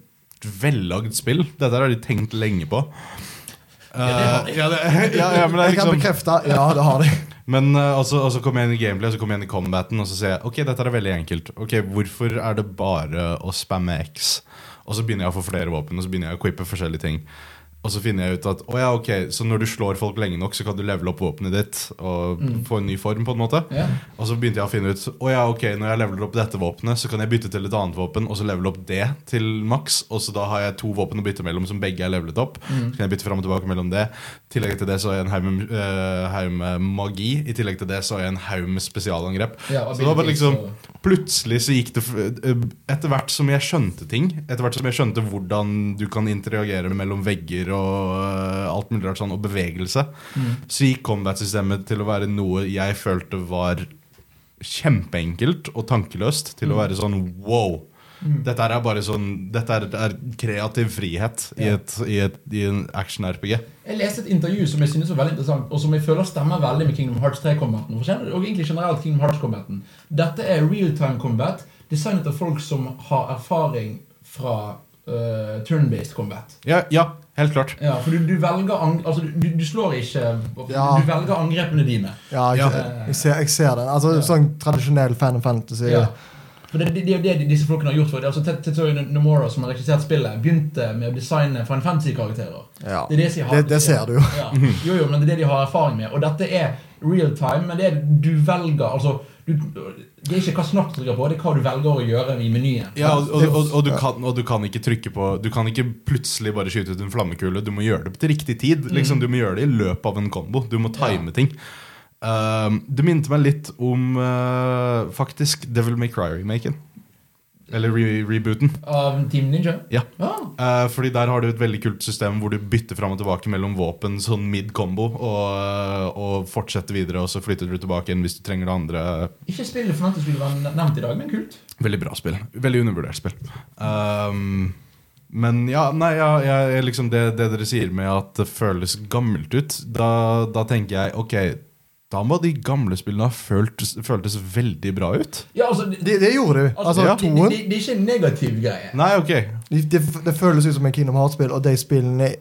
vellagd spill. Dette har de tenkt lenge på. Eh, ja, det, ja, ja, men det er jeg kan liksom bekrefte Ja, det har de. Men eh, og så og så kom jeg inn i gameplay, og så kom jeg inn i combaten, og så ser jeg ok, dette er veldig enkelt. Ok, Hvorfor er det bare å spamme X? Og så begynner jeg å få flere våpen, og så begynner jeg å equippe forskjellige ting. Og så finner jeg ut at å ja, ok, så når du slår folk lenge nok, så kan du levele opp våpenet ditt og få en ny form, på en måte. Ja. Og så begynte jeg å finne ut å ja, ok, når jeg leveler opp dette våpenet, så kan jeg bytte til et annet våpen, og så levele opp det til maks. Og så da har jeg to våpen å bytte mellom som begge er levelet opp. Så kan jeg bytte fram og tilbake mellom det. I tillegg til det så har jeg en haug med, eh, haug med magi. I tillegg til det så har jeg en haug med spesialangrep. Ja, så det var bare abilities liksom og- Plutselig så gikk det f- eh, Etter hvert som jeg skjønte ting, etter hvert som jeg skjønte hvordan du kan interagere mellom vegger og eh, alt mulig rart sånn, og bevegelse, Mm. så gikk combat-systemet til å være noe jeg følte var kjempeenkelt og tankeløst til å Mm. være sånn wow. Dette her er bare sånn Dette er, er kreativ frihet i, Ja. et, i, et, i en action-RPG. Jeg leste et intervju som jeg synes var veldig interessant, og som jeg føler stemmer veldig med Kingdom Hearts 3-combaten. Og egentlig generelt Kingdom Hearts-combaten. Dette er real-time combat, designet av folk som har erfaring fra eh, turn-based combat. Ja, ja, helt klart. Ja, for du, du velger ang Altså, du, du- du slår ikke Ja. Du velger angrepene dine. Ja, jeg, Ja. jeg, ser, jeg ser den. Altså Ja. Sånn tradisjonell fan of fantasy. Ja. For det, det, det er jo det disse folkene har gjort. For det. Altså, Tet- Tetsuya Nomura, som har regissert spillet, begynte med å designe Final Fantasy-karakterer. Ja. Det, er det, som jeg har, Det- det ser du jo. Ja. Jo, jo, men det er det de har erfaring med. Og dette er real time, men det er du velger altså, du, Det er ikke hva knapp du trykker på, det er hva du velger å gjøre i menyen. Ja, og, og, og, og, du kan, og du kan ikke trykke på Du kan ikke plutselig bare skyte ut en flammekule. Du må gjøre det til riktig tid. Liksom, du må gjøre det i løpet av en kombo. Du må time ting. Um, det minte meg litt om eh, faktisk Devil May Cry-remaken. Eller re rebooten. Av Team Ninja. Ja. Ah, Eh, fordi der har du et veldig kult system hvor du bytter fram og tilbake mellom våpen sånn mid-combo, og, eh, og fortsetter videre, og så flytter du tilbake igjen hvis du trenger det andre. ikke spillet for Fantasy var nevnt i dag, men kult. Veldig bra spill. Veldig undervurdert spill. Ehm, men ja, nei, ja, jeg, jeg, liksom det, det dere sier med at det føles gammelt ut, da, da tenker jeg ok, da må de gamle spillene ha føltes, føltes veldig bra ut. Ja, altså, det, Det, det gjorde du. altså, Altså, det, det, toen det, det er ikke en negativ greie. Nei, ok. det, det, det føles ut som en Kingdom Hearts-spill, og de spillene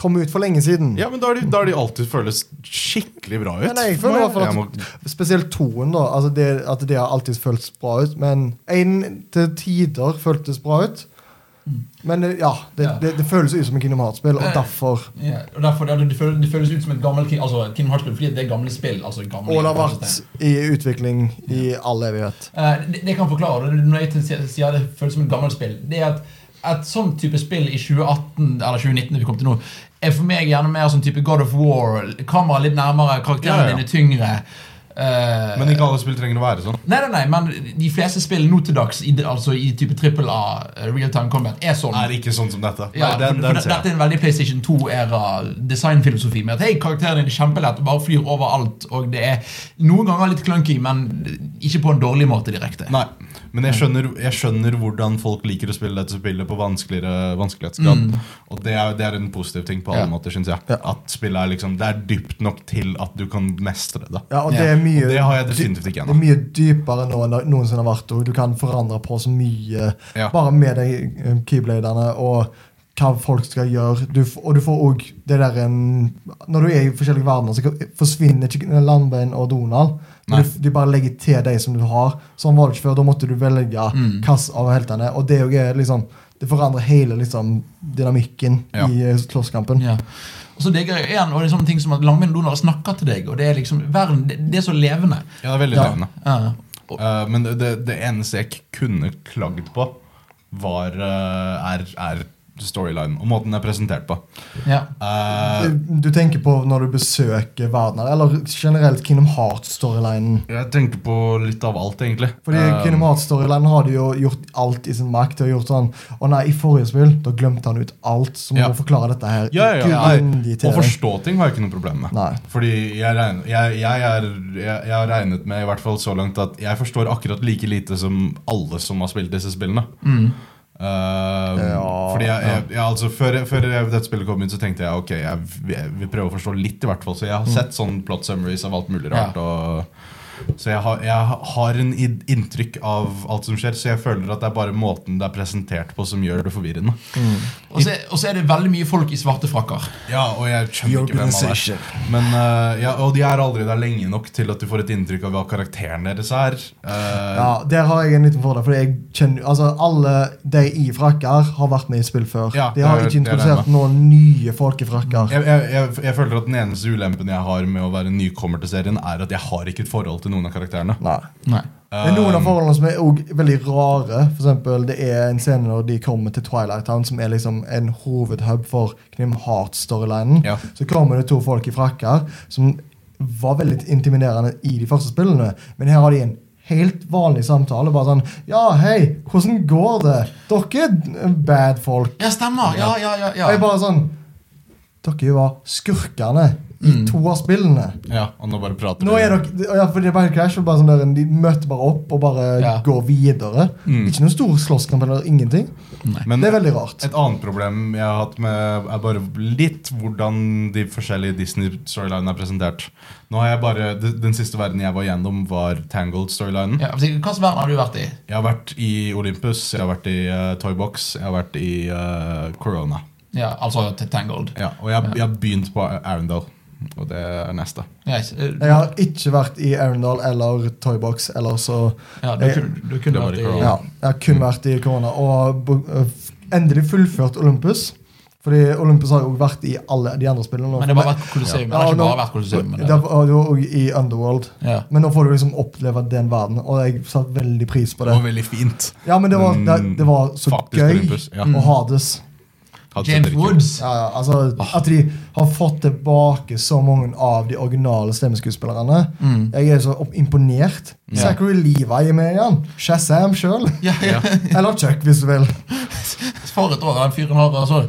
kom ut for lenge siden. Ja, men da har de, da har de alltid føltes skikkelig bra ut. Ja, nei, jeg føler i hvert fall Jeg at- må- Spesielt toen, da. Altså det, at det har alltid føltes bra ut. Men én til tider føltes bra ut. Men eh, ja, det, Ja. det, det føles ut som en Kingdom Hearts-spill, og Eh. derfor Ja, og derfor, det, det, føles, det føles ut som et gammelt King- altså, Kingdom Hearts-spill, fordi det er gamle spill. Altså, gamle, Og det har vært i utvikling i all evighet. Eh, det, det kan forklare det når jeg sier- sier det føles som et gammelt spill. Det er at et sånt type spill i 2018 eller 2019 vi kom til nå, er for meg gjerne mer sånn type God of War. Kameraet litt nærmere, karakterene Ja, ja. dine tyngre. Eh, Men ikke alle spill trenger å være sånn. Nei, nei, nei, men de fleste spill nå til dags, i, altså i type trippel A, eh, real time combat, er sånn. Er ikke sånn som dette. Ja, Nei, den, for, den for ser Dette jeg. er en veldig PlayStation 2-æra designfilosofi. Med at hei, karakteren din er kjempelett og bare flyr overalt. Og det er noen ganger litt clunky, men ikke på en dårlig måte direkte. Nei, men jeg skjønner, jeg skjønner hvordan folk liker å spille dette spillet på vanskeligere vanskelighetsgrad. Og det er, det er en positiv ting på alle Ja. måter, syns jeg. Ja. At spillet er liksom, det er dypt nok til at du kan mestre det. Ja, og det Ja, er mye og det har jeg definitivt ikke ennå. Det er mye dypere nå enn det noensinne har vært. Og du kan forandre på så mye Ja. bare med de eh, keybladene og hva folk skal gjøre. Du, f- og du får òg det der en Når du er i forskjellige verdener, så kan- forsvinner ikke Landbein og Donald. Nei. Men du, du bare legger til de som du har. Sånn var det ikke før. Da måtte du velge Mm. hvilken av heltene. Og det òg er liksom Det forandrer hele liksom, dynamikken Ja. i eh, slåsskampen. Ja. Og så digger jeg igjen, og det er sånne ting som at Langbein Donald snakker til deg, og det er liksom verden, det, det er så levende. Ja, det er veldig Ja. levende. Ja. Og- Eh, men det, det- det eneste jeg k- kunne klagd på, var, eh, er, er storylinen og måten den er presentert på. ja. Eh, Du tenker på når du besøker verdener, eller generelt Kingdom Hearts-storylinen. jeg tenker på litt av alt, egentlig. Fordi Eh, Kingdom Hearts-storylinen har de jo gjort alt i sin makt. De har gjort sånn, Å nei, i forrige spill da glemte han ut alt, så må Ja. vi forklare dette her. ja, ja, ja, nei, grundig til Å deg. forstå ting har jeg ikke noe problem med. Nei. Fordi jeg, regner, jeg, jeg, er, jeg, jeg har regnet med i hvert fall så langt at jeg forstår akkurat like lite som alle som har spilt disse spillene. mm. Eh, Ja, fordi jeg, jeg, jeg, altså, før, jeg- før jeg- dette spillet kom ut, så tenkte jeg ok, jeg, jeg vil prøve å forstå litt. i hvert fall Så jeg har Mm. sett sånn plot summaries av alt mulig rart. Ja. Og, så jeg har, jeg har en id- inntrykk av alt som skjer, så jeg føler at det er bare måten det er presentert på, som gjør det forvirrende. Og, så, og så er det veldig mye folk i svarte frakker. Ja, og jeg The skjønner ikke hvem han organization. er. Men, eh, ja, og de er aldri der lenge nok til at du får et inntrykk av hva karakteren deres er. Eh, Ja, Der har jeg en liten fordel. Fordi jeg kjenner, altså Alle de i frakker har vært med i spill før. Ja, de har det er- ikke det er introdusert det. noen nye folk i frakker. Jeg, jeg, jeg, jeg føler at Den eneste ulempen jeg har med å være nykommer til serien, er at jeg har ikke et forhold til noen av karakterene. Nei. Nei. Det er noen av forholdene som er også veldig rare. For eksempel, det er en scene når de kommer til Twilight Town, som er liksom en hovedhub for Knim Heart-storylinen. Ja. Så kommer det to folk i frakker som var veldig intimiderende i de første spillene. Men her har de en helt vanlig samtale. Bare sånn Ja, hei, hvordan går det? Dere er bad folk. Ja, stemmer. Ja, ja, ja. Og ja. jeg bare sånn Dere var skurkene i to av spillene. Ja, og nå bare prater Nå er dere. dere, ja, for det er bare en clash, og bare sånn der, De møter bare opp og bare Ja. Mm. går videre. Ikke noen stor slåsskamp eller ingenting. Men det er veldig rart. Mm. et annet problem jeg har hatt med, er bare litt hvordan de forskjellige Disney-storylinene er presentert. Nå har jeg bare, de- Den siste verden jeg var gjennom, var Tangled-storylinen. ja. for Hva slags verden har du vært i? Jeg har vært i Olympus, jeg har vært i eh, Toybox, jeg har vært i eh, Corona. Ja, altså til Tangled. Ja, og jeg, jeg har begynt på Arendal, og det er neste. Yes. eh, Jeg har ikke vært i Arendal eller Toybox eller så Ja, du jeg, kunne, du kunne Det var vært ikke i bra. ja, jeg har Mm. kun vært i korona og bo- øh, f- endelig fullført Olympus. Fordi Olympus har jo vært i alle de andre spillene. Men det har bare vært Colosseum. Det Ja, har ikke nå- bare vært Colosseum. Men det det. var det var også i Underworld. Ja. Men nå får du liksom oppleve den verden, og jeg satte veldig pris på Det det. var veldig fint. Ja, men det var, Men det, det var så faktisk gøy Olympus, ja. å Hades. Hadde James dere ikke- Woods. Ja, ja, altså, at de har fått tilbake så mange av de originale stemmeskuespillerne. Jeg er så opp- imponert. Ja. Zachary Levi er med igjen. Shazam sjøl. Ja, ja. Eller Chuck, hvis du vil. For et år den fyren har, altså.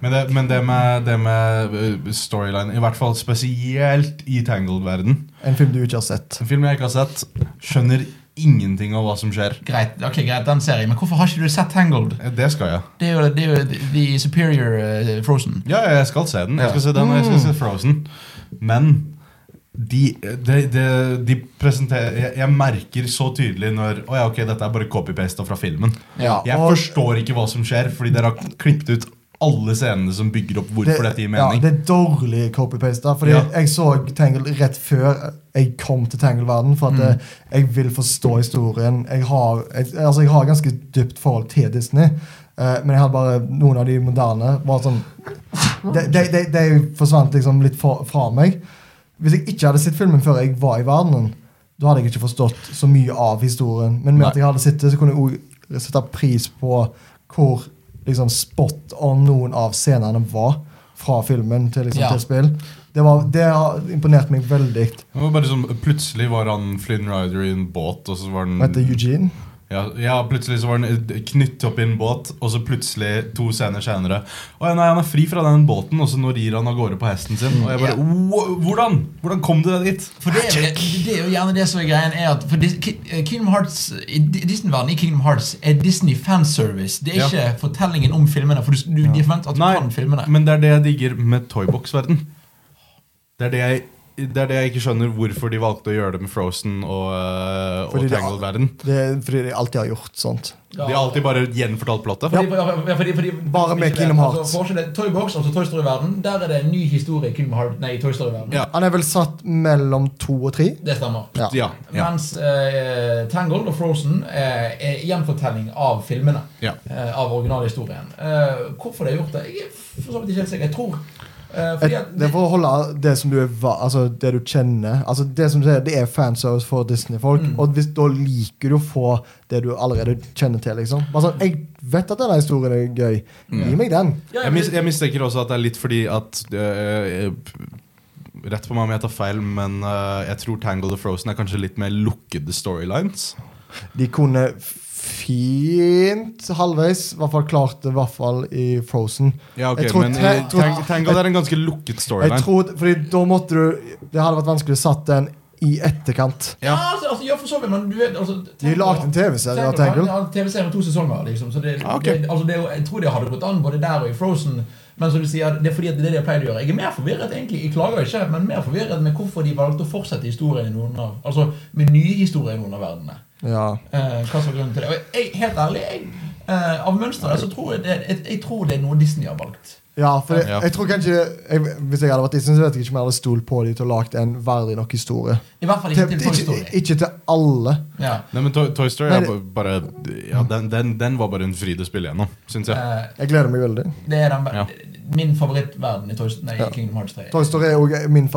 Men det, men det med, det med uh, storyline, i hvert fall spesielt i Tangled-verden En film du ikke har sett. En film jeg ikke har sett, skjønner ingenting av hva som skjer. Greit, ok, greit, den serien. Men hvorfor har ikke du sett Tangled? Eh, Det skal jeg. Det er jo, det er jo The Superior eh, Frozen. Ja, ja, jeg skal se den. Jeg skal se den, og jeg skal se Frozen. Men de, de, de, de presenterer jeg, jeg merker så tydelig når Å ja, ok, dette er bare copy-pasta fra filmen. Ja, Jeg og- forstår ikke hva som skjer, fordi dere har klippet ut alle scenene som bygger opp hvorfor dette gir mening. Ja, det er dårlig copy-paste. der, Fordi Ja. jeg så Tangle rett før jeg kom til Tangle-verden. For at Mm. eh, jeg vil forstå historien. Jeg har, jeg, altså, jeg har ganske dypt forhold til Disney. eh, men jeg hadde bare noen av de moderne var sånn De, de, de, de forsvant liksom litt fra, fra meg. Hvis jeg ikke hadde sett filmen før jeg var i verdenen, da hadde jeg ikke forstått så mye av historien. Men med Nei. at jeg hadde sett det, så kunne jeg også sette pris på hvor liksom, spot on noen av scenene var fra filmen til, liksom, Ja. til spill. Det, var, det har imponert meg veldig. Det var bare sånn, Plutselig var han Flynn Ryder i en båt, og så var Han heter han Eugene. ja, ja, plutselig så var han eh, knyttet opp i en båt, og så plutselig, to scener senere Å ja, nei, han er fri fra den båten, og så nå rir han av gårde på hesten sin. Og jeg Ja. bare, «Wo- Hvordan Hvordan kom du deg dit? For det er, jo, det er jo gjerne det som er greien er at for Dis- Ki- eh, Kingdom Hearts i Di- Disney-verdenen i Kingdom Hearts er Disney fanservice. Det er Ja. ikke fortellingen om filmene, for du, du, de forventer at du Nei, kan filmene. men det er det jeg digger med Toybox-verden. Det, er det, jeg- det er det jeg ikke skjønner hvorfor de valgte å gjøre det med Frozen og, øh, Fordi og det- Tangled-verden. Det er fordi de alltid har gjort sånt. De har alltid bare gjenfortalt plottet. fordi, ja. fordi, fordi, fordi, Bare med ikke det, Kingdom altså, Hearts. forskjellen er Toy Box, altså Toy Story-verden, der er det en ny historie i Kingdom Hearts, nei, i Toy Story-verden. Ja. Han er vel satt mellom to og tre. Det stemmer. Ja. Ja, ja, Mens eh, Tangled og Frozen eh, er gjenfortelling av filmene. ja. eh, av originalhistorien. Eh, hvorfor de har gjort det? Jeg er for så vidt ikke helt sikker. Jeg tror eh, fordi Et, at det er for å holde det som du er va- Altså det du kjenner. Altså Det som du sier, det er fanservice for Disney-folk. Mm. Og hvis, da liker du å få det du allerede kjenner til. liksom Bare sånn, Jeg vet at denne historien er gøy. Mm. Gi meg den. Ja, ja, Jeg, mis, men- jeg mistenker også at det er litt fordi at øh, øh, Rett på meg om jeg tar feil, men øh, jeg tror Tangled og Frozen er kanskje litt mer lukkede storylines. De kunne fint halvveis, i hvert fall klart det i hvert fall i Frozen. Ja, ok, Jeg tror men ta- øh, Tang Tangled er en ganske lukket Jeg storyline. tror, fordi da måtte du Det hadde vært vanskelig å satt den i etterkant. ja, altså, altså, ja, for så vidt, men du vet altså, De lagde en TV-serie av Tangle. TV-serien med to sesonger, liksom. Så det, Ah, ok. det, altså, det, er jo- jeg tror det hadde gått an både der og i Frozen. Men som du sier, det er fordi at det er det de pleier å gjøre. Jeg er mer forvirret, egentlig. Jeg klager ikke, men mer forvirret med hvorfor de valgte å fortsette historien i noen av Altså med nye historier i noen av verdenene. Ja. Eh, hva som er grunnen til det? Og jeg, helt ærlig, jeg, eh, av mønsteret så tror jeg det, jeg, jeg tror det er noe Disney har valgt. Ja, for jeg, Ja. jeg tror kanskje jeg, Hvis jeg hadde vært Disney, så vet jeg ikke om jeg hadde stolt på dem til å lage en verdig nok historie. I hvert fall Til, ikke til Toy ikke, Story. ikke til alle. Ja. Nei, men Toy, Toy Story Nei, er det- ba- bare ja, den, den, den var bare en fryd å spille gjennom, syns jeg. Eh, Jeg gleder meg veldig. det er den, Ja. min favorittverden i Toy Story, nei, i Ja. Kingdom Hearts 3. Toy Story er òg min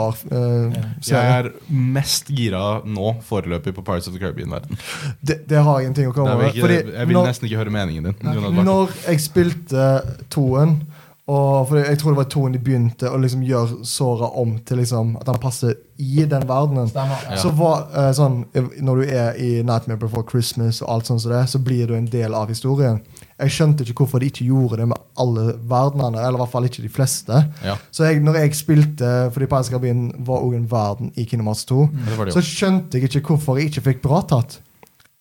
favoritt-Pixar-serie. Jeg er mest gira nå foreløpig på Pirates of the Caribbean-verden. det, det har jeg ingenting å komme med. Jeg, Fordi jeg vil når- nesten ikke høre meningen din. Jonas Bakke. Når jeg spilte toen og for Jeg tror det var toen de begynte å liksom gjøre Sora om til liksom at han passer i den verdenen. Stemmer. Ja. Så var eh, sånn eh, Når du er i Nightmare Before Christmas, og alt sånt som det, så blir du en del av historien. Jeg skjønte ikke hvorfor de ikke gjorde det med alle verdenene. Eller i hvert fall ikke de fleste Ja, Så jeg, når jeg spilte Fordi Pirates of the Caribbean var òg en verden i Kingdom Hearts 2, det var det så jo. skjønte jeg ikke hvorfor jeg ikke fikk bra tatt.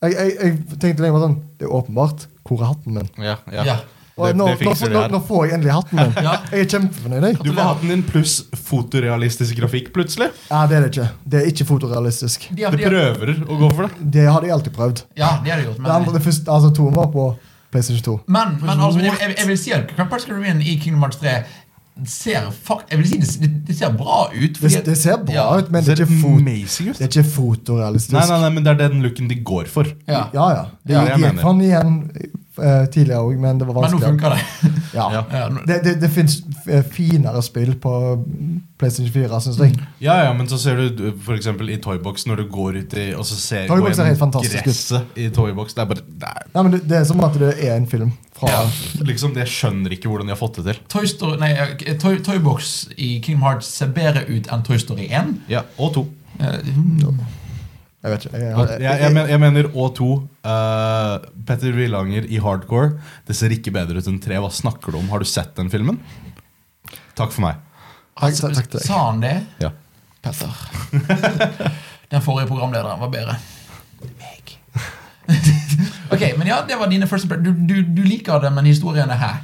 Jeg, jeg, jeg tenkte lenge bare sånn Det er åpenbart. Hvor er hatten min? Ja, ja. Ja. Og Det, nå, det nå, fikser de nå, nå her. får jeg endelig hatten min. Ja. Jeg er kjempefornøyd. Jeg. Du får hatten din pluss fotorealistisk grafikk plutselig. Ja, det er det ikke. Det er ikke fotorealistisk. De har, Du de har, prøver å gå for det. Det hadde jeg alltid prøvd. ja, det har de gjort. Det andre, Men, det første, altså toen var på PlayStation 2. men, men altså, jeg, jeg, jeg vil si at Crampers Caribbean i Kingdom Hearts 3 ser, fak- jeg vil si det, det, det ser bra ut. Det, fordi at- det ser bra ja. ut, men det er ikke, fot, amazing ut. det er ikke Nei, fotorealistisk. nei, nei, men det er den looken de går for. Ja. Ja, ja. Det Ja, jeg gikk mener. gikk han igjen eh, tidligere òg, men det var Men nå vanskelig. funker det. Ja. Ja. Ja, nå- Det, det, det fins finere spill på PlayStation 4, syns jeg. Ja, ja, men så ser du du, for eksempel i Toybox når du går ut i Og så ser Toy går Box er gjennom helt fantastisk ut. gresset i Toybox. Det er bare det er, Nei, men det, det er som at det er en film fra ja, liksom, Jeg skjønner ikke hvordan de har fått det til. Toy Story, nei, eh, Toy, Toybox i Kingdom Hearts ser bedre ut enn Toy Story 1. Ja, Og to. Eh, mm, Jeg vet ikke. Jeg, jeg, men- jeg mener og to. eh, Petter Willanger i Hardcore. Det ser ikke bedre ut enn tre. Hva snakker du om? Har du sett den filmen? Takk for meg. Takk, takk, takk til deg. Sa han det? Ja. Petter. Den forrige programlederen var bedre. Meg. ok, men ja, det var dine første du, du, du liker det, men historien er her.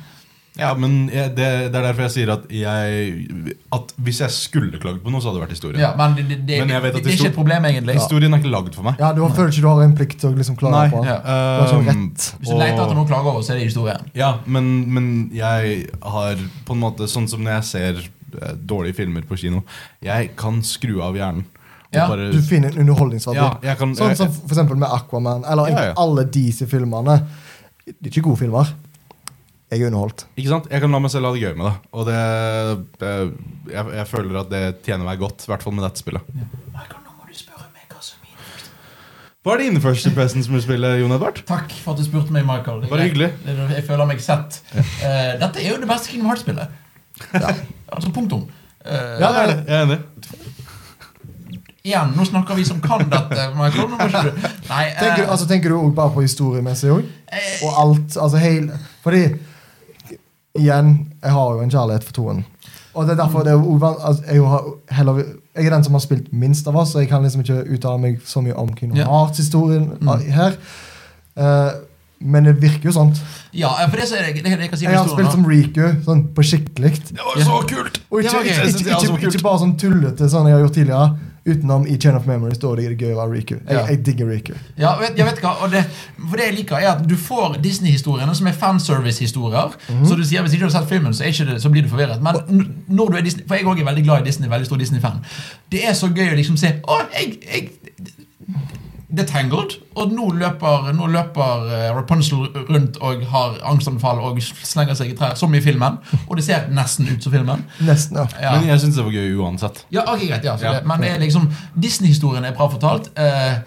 Ja, men jeg, det, det er derfor jeg sier at jeg At hvis jeg skulle klagd på noe, så hadde det vært historien. Ja, men det, det, det, Men jeg vet at det, er histo- ikke et problem, egentlig. Historien er ikke lagd for meg. Ja, du har, føler ikke du har en plikt til å liksom klare Nei, på ja. Du har ikke Um, rett. Hvis du leter etter og- noe å klage over, så er det historien. Ja, men, men jeg har på en måte Sånn som når jeg ser eh, dårlige filmer på kino, jeg kan skru av hjernen. Og Ja, bare, Du finner en underholdningsverdi. ja, jeg kan, Sånn som for eksempel med Aquaman, eller Ja, ja. alle disse filmene. Det er ikke gode filmer. Jeg er underholdt. Ikke sant? Jeg kan la meg selv ha det gøy med det. Og det, eh, jeg, jeg føler at det tjener meg godt, i hvert fall med dette spillet. Michael, nå må du spørre meg hva som er første Hva er dine første presents med spillet, Jon Edvard? Takk for at du spurte meg, Michael. Det er Bare greit. hyggelig. Det er- Jeg føler meg sett. Eh, dette er jo det beste Kingdom Hearts-spillet. Ja. Altså, punktum. Eh, Ja, det er det. Jeg er enig. Igjen, nå snakker vi som kan dette, Michael. Nå må ikke du Nei, eh, Tenker, altså, tenker du også bare på historiemessig òg? eh, Og alt. Altså hele Fordi Igjen, jeg har jo en kjærlighet for toen. Og det er derfor det er jo uvan- altså, jeg, har heller, jeg er den som har spilt minst av oss, så jeg kan liksom ikke uttale meg så mye om Kingdom Ja. Hearts-historien Mm. av- her. Eh, men det virker jo sånn. ja, for det som er det, det, det jeg kan si om Jeg har historien spilt nå- som Riku, sånn på skikkelig. Det var så kult! Og Det var gøy. Jeg ikke, ikke, ikke, synes det er så ikke, kult. ikke bare sånn tullete sånn jeg har gjort tidligere. Utenom i Chain of Memory står det gøy å være Riku. Jeg, Ja. jeg digger Riku. Ja, vet, jeg vet hva, og det, for det jeg liker er at du får Disney-historiene som er fanservice-historier. Mhm. Så du sier hvis ikke du har sett filmen, så, er ikke det, så blir du forvirret. Men n- når du er Disney, For jeg også er veldig glad i Disney, veldig stor Disney-fan. Det er så gøy å liksom se Å, jeg, jeg det er Tangled, og nå løper, nå løper eh, Rapunzel rundt og har angstanfall og slenger seg i trær, som i filmen. Og det ser nesten ut som filmen. Nesten, ja. Ja. Men jeg syns det var gøy uansett. Ja, ok, greit, ja, så Ja. Det, Men det er liksom Disney-historien er bra fortalt. Eh,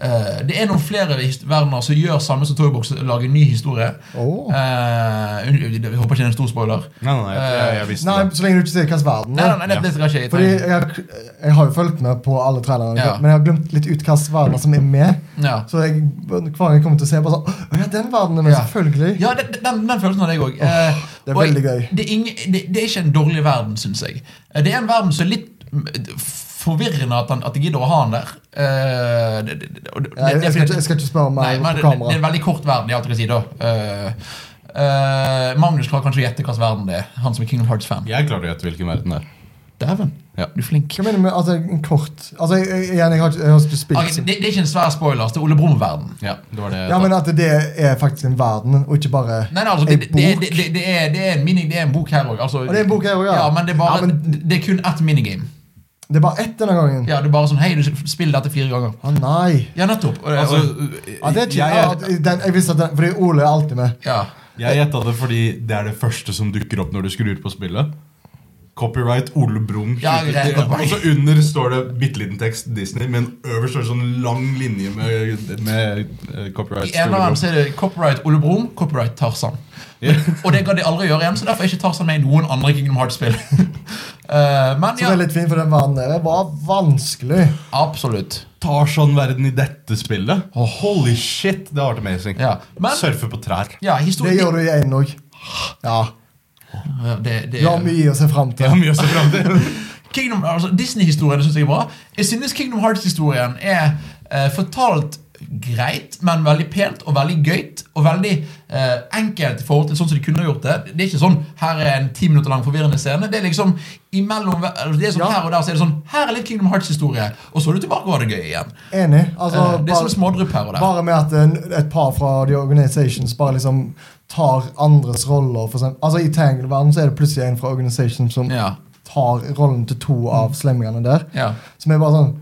eh, det er noen flere his- verdener som gjør samme som Toybox, lager ny historie. Åh. Eh, unn- vi håper ikke det er en stor spoiler. Nei, Eh, nei, jeg, jeg, jeg visste Nei, det. så lenge du ikke sier hvilken verden det Nei, er. nei, nei, det, det skal ikke jeg Fordi trenger. jeg, jeg har jo fulgt med på alle trailerne, Ja. men jeg har glemt litt ut hvilke verdener som er med. Ja. Så jeg, hver gang jeg kommer til å se, bare sånn Å ja, den verdenen er med, Ja. selvfølgelig. Ja, det- det- den, den følelsen hadde jeg òg. Eh, det er og veldig jeg- gøy. Det er, ingen, det, det er ikke en dårlig verden, syns jeg. Eh, Det er en verden som er litt mm, forvirrende at, han, at de gidder å ha han der. Eh, det, det, det, og det- Ja, jeg, det- jeg, skal ikke, jeg skal ikke spørre Nei, men mer på det, det, det kamera. er en veldig kort verden. Jeg har alltid å si da Eh, eh, Magnus klarer kanskje å gjette hvilken verden det er. Han som er Kingdom Hearts-fan. Jeg klarer å gjette hvilken verden det er. Dæven, Ja. du er flink. Hva mener du med altså, en kort Altså, jeg, jeg, igjen, jeg har ikke, jeg har ikke spilt Ok, det, det er ikke en svær spoiler. Det er Ole Brumm-verden. Ja, det var det jeg Ja, sa. men at det er faktisk en verden, og ikke bare Nei, nei, altså, en det, det, det, det, det, er, det er en mini, det er en bok her òg. Altså, Og det er en bok her også, ja. ja, men det er, bare, Ja, men- det er kun ett minigame. Det er bare ett denne gangen. Å Ja, det er bare sånn Hei, du spill dette fire ganger. nei. Ja, nettopp. Og, det- Altså, og, Ja, det er ikke, jeg, ja, den, jeg visste at den, fordi Ole er alltid med. ja. jeg gjetta det fordi det er det første som dukker opp når du skrur på spillet. Copyright Ole Brumm. Ja, 20. greit, godt poeng. og så under står det bitte liten tekst Disney, men øverst står det sånn lang linje med, med eh, copyright. I til Ole eneren Brumm. så er det copyright Ole Brumm, copyright Tarzan. Ja. Og det kan de aldri gjøre igjen, så derfor er ikke Tarzan med i noen andre Kingdom Hearts-spill. Eh, men Så ja, det er litt fint, for den verden der var vanskelig. absolutt. Tarzan-verden i dette spillet. holy shit, det har vært amazing. Ja, men- Surfe på trær. Ja, Det historien gjør du i én òg. Ja. Ja, det, det, Du har mye å se fram Det til. er mye å se fram til. Kingdom, altså Disney-historien synes jeg er bra. Jeg synes Kingdom Hearts-historien er eh, fortalt greit, men veldig pent og veldig gøyt. Og veldig eh, enkelt i forhold til sånn som de kunne gjort det. Det er ikke sånn 'her er en ti minutter lang forvirrende scene'. Det er liksom imellom altså, Det er sånn Ja. her og der, så er det sånn 'her er litt Kingdom Hearts-historie', og så er du tilbake og har det gøy igjen. Enig. Altså, Eh, det er sånn bare, smådrypp her og der. bare med at en, et par fra The Organizations bare liksom tar andres roller. For eksempel. altså I Tangle-verden så er det plutselig en fra Organization som Ja, Mm. tar rollen til to av slemmingene der. ja. Som er bare sånn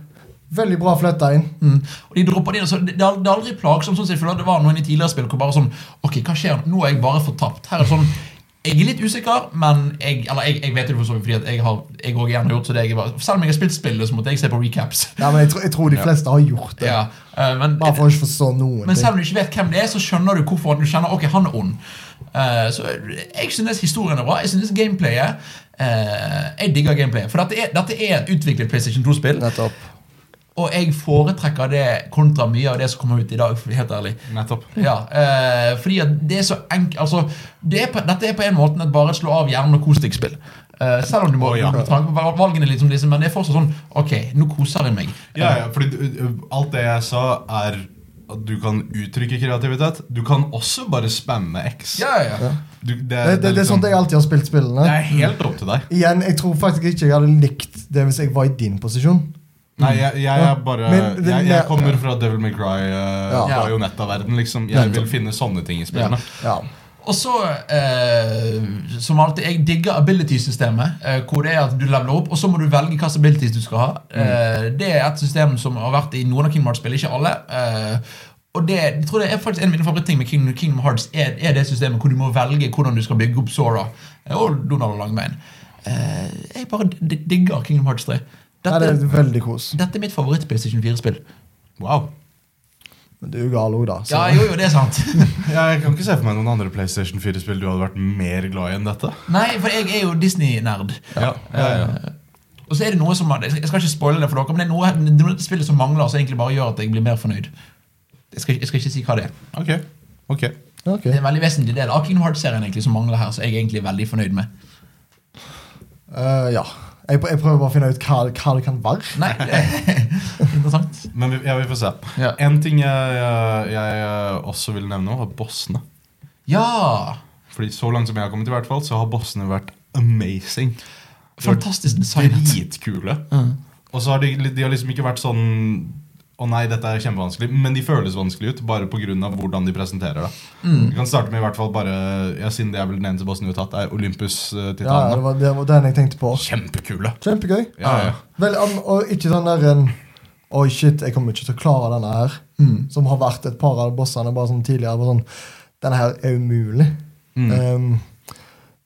Veldig bra flytta inn. Mm. Og de dropper det inn, så det, det er al- det er aldri plagsomt. Sånn som jeg føler det var noen i tidligere spill hvor bare sånn Ok, hva skjer? Nå er jeg bare fortapt. Her er det sånn Jeg er litt usikker, men jeg, eller jeg, jeg vet det for så vidt fordi at jeg har jeg også gjerne har gjort så det jeg var. Selv om jeg har spilt spillet, så måtte jeg se på recaps. Ja, men jeg, tror- jeg tror de fleste har gjort det. Ja, eh, men, Bare for å ikke forstå noen men ting. selv om du ikke vet hvem det er, så skjønner du hvorfor du kjenner ok, han er ond. Eh, så jeg synes historien er bra. Jeg synes gameplayet eh, Jeg digger gameplayet. For dette er, dette er et utviklet PlayStation 2-spill. Nettopp. Og jeg foretrekker det kontra mye av det som kommer ut i dag. for å være helt ærlig Nettopp. ja, eh, Fordi at det er så enkelt altså, det er på, Dette er på en måte et bare slå av hjernen og kos deg-spill. Eh, selv om du må Å, ja. med tanke på val- valgene, liksom, liksom, men det er fortsatt sånn Ok, nå koser jeg meg. Ja, ja, fordi du- alt det jeg sa, er at du kan uttrykke kreativitet. Du kan også bare spamme X. Ja, ja, ja. liksom- Du, det, liksom- Det, det, det er sånt jeg alltid har spilt spillene. Det er helt opp til deg. Igjen, jeg tror faktisk ikke jeg hadde likt det hvis jeg var i din posisjon. Nei, jeg, jeg er bare Men det- jeg, jeg kommer fra Devil May Cry, uh, Ja. Bajonetta-verden, liksom. Jeg vil finne sånne ting i spillene. Ja. Og så, eh, som alltid, jeg digger ability-systemet. Eh, hvor det er at du leveler opp, og så må du velge hvilke abilities du skal ha. Mm. Eh, det er et system som har vært i noen av Kingdom Hearts-spillene, ikke alle. Eh, og det, jeg tror det er faktisk En av mine favorittting med Kingdom, Kingdom Hearts er, er det systemet hvor du må velge hvordan du skal bygge opp Sora eh, og Donald og Langbein. Eh, jeg bare d- d- digger Kingdom Hearts 3. Nei, det Dette, er veldig kos. dette er mitt favoritt-PlayStation 4-spill. Wow. Men du er jo gal òg, da. Så. Ja, jo, jo, det er sant. Jeg kan ikke se for meg noen andre PlayStation 4-spill du hadde vært mer glad i enn dette. Nei, for jeg er jo Disney-nerd. Ja, ja, ja. Eh, Og så er det noe som Jeg skal ikke spoile det for dere, men det er noe, det er noe i dette spillet som mangler, som egentlig bare gjør at jeg blir mer fornøyd. Jeg skal, jeg skal ikke si hva det er. Ok. ok. Ok. Det er en veldig vesentlig del av Kingdom Hearts-serien egentlig som mangler her, så jeg er egentlig veldig fornøyd med. Eh, ja. Jeg, pr- jeg prøver bare å finne ut hva, hva det kan være. Nei, det er interessant. Men vi, ja, vi får se. Ja. En ting jeg, jeg, jeg også vil nevne, var bossene. Ja! Fordi så langt som jeg har kommet, i hvert fall, så har bossene vært amazing. Fantastisk designet. Dritkule. Mm. Og så har de, de har liksom ikke vært sånn Å nei, dette er kjempevanskelig. Men de føles vanskelig ut, bare pga. hvordan de presenterer det. Vi kan starte med i hvert fall bare ja, Siden det er vel den eneste bossen du har tatt, er Olympus-titanen. Ja, ja, det var, det var den jeg tenkte på. Kjempekule! Kjempegøy. Ja, ja. Vel, um, og ikke sånn der en Oi, shit, jeg kommer ikke til å klare denne her. Som har vært et par av bossene bare sånn tidligere. Bare sånn, denne her er umulig. Um,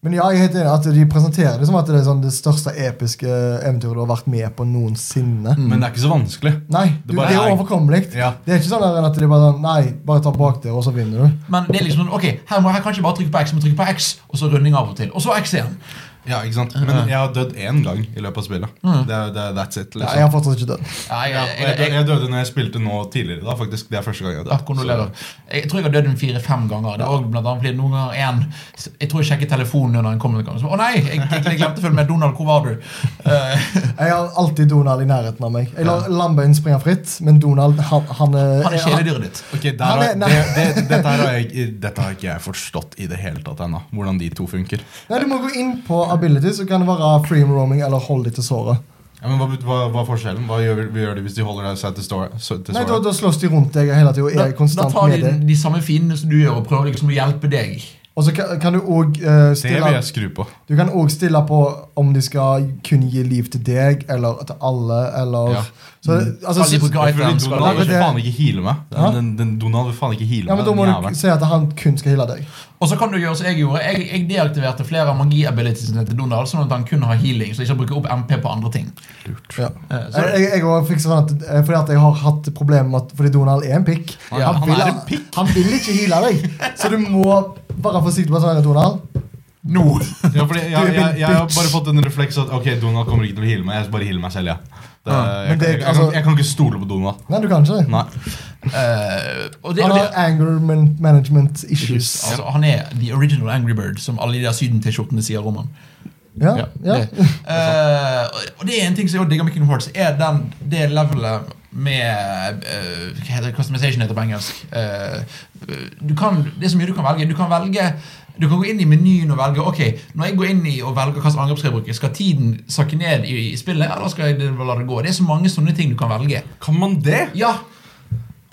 men ja, jeg er helt enig i at de presenterer det som at det er sånn det største episke eventyret du har vært med på noensinne. Men det er ikke så vanskelig. Nei, Mm. Det du, det, bare er er- overkommelig. Ja. Det er ikke sånn der at det er bare sånn Nei, bare ta bak der, og så vinner du. Men det er liksom sånn, ok, her må jeg kanskje bare trykke på X, må trykke på X, og så runding av og til. Og så X igjen. Ja, ikke sant? Men jeg har dødd én gang i løpet av spillet. Det, er- det, er- that's it. Nei, liksom. jeg har fortsatt ikke dødd. Ja, Ja, og jeg, døde, jeg døde når jeg spilte nå tidligere. da, faktisk. Det er første gang jeg har Ja, dødd. kondolerer. Jeg tror jeg har dødd en fire-fem ganger. Det var blant annet fordi noen ganger en, Jeg tror jeg sjekket telefonen under en kommende gang. Så, Å nei, jeg, jeg, jeg glemte å følge med. Donald, hvor var du? Eh, Jeg har alltid Donald i nærheten av meg. Jeg lar lambein springe fritt, men Donald, han, han, er- han er kjæledyret ditt. Så- Ok, der Nei, har, nei, nei. det, det, dette, her har jeg, dette har ikke jeg forstått i det hele tatt ennå. Hvordan de to funker. Nei, Du må gå inn på ability, så kan det være freem roaming eller hold deg til såret. Ja, men hva, hva, hva er forskjellen? Hva gjør, vi gjør de hvis de holder seg til stora? Til Nei, da, stora? da slåss de rundt deg hele tida og Da, er da konstant tar med de deg. de samme fiendene som du gjør, og prøver liksom å hjelpe deg. Og så kan, kan du òg Det vil stille jeg skru på. Du kan òg stille på om de skal kunne gi liv til deg eller til alle, eller Ja. Mm. så, altså, Alle så, bruker Fordi items, skal Donald du- Nei, vil det- faen ikke heale meg. Hæ? Den, den, den Donald vil faen ikke heale ja, men meg. Da må den du jævelen. si at han kun skal heale deg. Og så kan du gjøre som jeg gjorde. Jeg, jeg deaktiverte flere av magi-abilitiesene til Donald, sånn at han kun har healing, så jeg ikke bruker opp MP på andre ting. Ja. Eh, så- Jeg, jeg, jeg også fikser sånn at, eh, fordi at jeg har hatt problemer med at Fordi Donald er en pikk. Ja, han vil, er en pikk. han vil ikke heale deg, så du må være forsiktig med sånn, Donald. Nå! Ja, fordi jeg, Du jeg, er min jeg, har bitch. bare fått en refleks at ok, Donald kommer ikke til å heale meg. Jeg skal bare heale meg selv, ja. Det, Ja, men jeg, det- kan- jeg, kan- altså- jeg kan ikke stole på Donald. Nei, du kan ikke det. Nei. Eh, og det, Han og har det, anger man- management issues. altså, han er the original Angry Bird, som alle de der sydentilskjortene sier om ham. Ja, Ja. ja. Eh, og det er en ting som jeg også digger med Kingdom Hearts, er den, det levelet med eh, Hva heter det? Customization heter det på engelsk. Eh, du kan, det er så mye du kan velge. Du kan velge du kan gå inn i menyen og velge Ok, når jeg går inn i og velger hvilket angrep skal jeg bruke, skal tiden sakke ned i, i spillet, eller skal jeg la det gå? Det er så mange sånne ting du kan velge. Kan man det? Ja!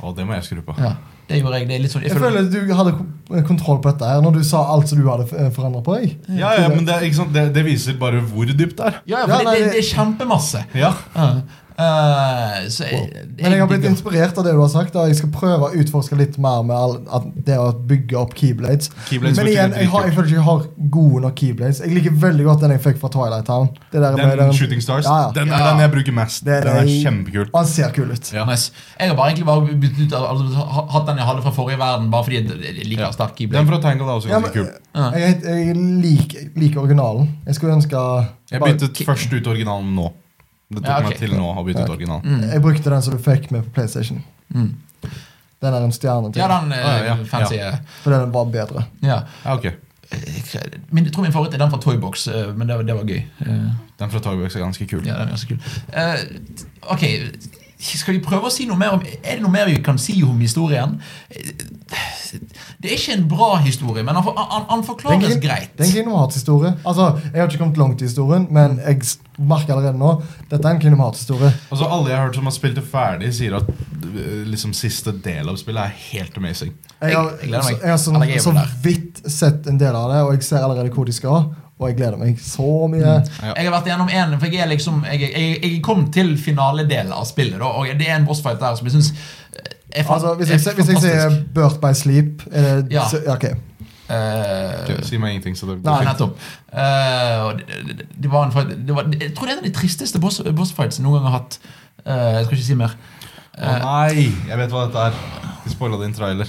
Å, det må jeg skru på. ja det gjorde jeg. Det er litt sånn Jeg føler du hadde ko- kontroll på dette her når du sa alt som du hadde forandra på deg. Ja, ja, men det, er ikke sant? Det, det viser bare hvor dypt det er. Ja, ja, for Ja, det, nei, det, det- det er kjempemasse. Ja. Ja. Eh, så jeg, Men jeg har blitt digger- inspirert av det du har sagt, og jeg skal prøve å utforske litt mer med all, at det å bygge opp keyblades. Keyblades men betyr igjen, jeg, har, jeg føler ikke jeg har gode nok keyblades. Jeg liker veldig godt den jeg fikk fra Twilight Town. Det der Den med den- Shooting Stars, Ja, ja. den er Ja. den jeg bruker mest. Det er Den er den- kjempekul. Og han ser kul ut. Ja. Nice. Jeg har bare egentlig bare byttet ut av- altså, ha- hatt den jeg hadde fra forrige verden, bare fordi jeg- jeg liker Ja. sterk Den keyblade. fra Tangle er også Ja, ganske men, eh, kul. Ja. jeg jeg, jeg liker liker originalen. Jeg skulle ønske Jeg bare- byttet ki- først ut originalen nå. Det tok Ja, ok. meg til nå å bytte ut originalen. Mm. Jeg brukte den som du fikk med på PlayStation. Den er en stjerne til, Ja, den eh, Ah, Ja, ja, ja. fancy Ja. eh, fordi den var bedre. ja. Ja, ok. Jeg- Min, jeg tror min favoritt er den fra Toybox, eh, men det, var- det var gøy. Eh, Den fra Targox er ganske kul. Ja, den er så kul. Eh, ok, skal vi prøve å si noe mer om Er det noe mer vi kan si om historien? Eh, Det er ikke en bra historie, men han, for, han, han Den forklares Kingdom- greit. Det er en Kingdom Hearts-historie. Altså, jeg har ikke kommet langt i historien, men jeg s- merker allerede nå dette er en Kingdom Hearts-historie. Altså, alle jeg har hørt som har spilt det ferdig, sier at øh, liksom, siste del av spillet er helt amazing. Jeg har, Jeg- jeg gleder meg. jeg har sånn, Allerede er så vi der. vidt sett en del av det, og jeg ser allerede hvor de skal. Og jeg gleder meg så mye. Ja. Jeg har vært igjennom en, for jeg er liksom Jeg, jeg, jeg kom til finaledelen av spillet, da, og det er en bossfight der som jeg syns er, fan- Altså, hvis jeg, er se- hvis jeg sier fantastisk. 'Birth by Sleep' er det, Ja. så, ja, ok. Eh, Ok, si meg ingenting, så det Nei, nettopp. Eh, og det, det, det var en fight det var, Jeg tror det er en av de tristeste boss, bossfights jeg noen gang har hatt. Eh, jeg skal ikke si mer. Å nei! Jeg vet hva dette er. De spoila din trailer.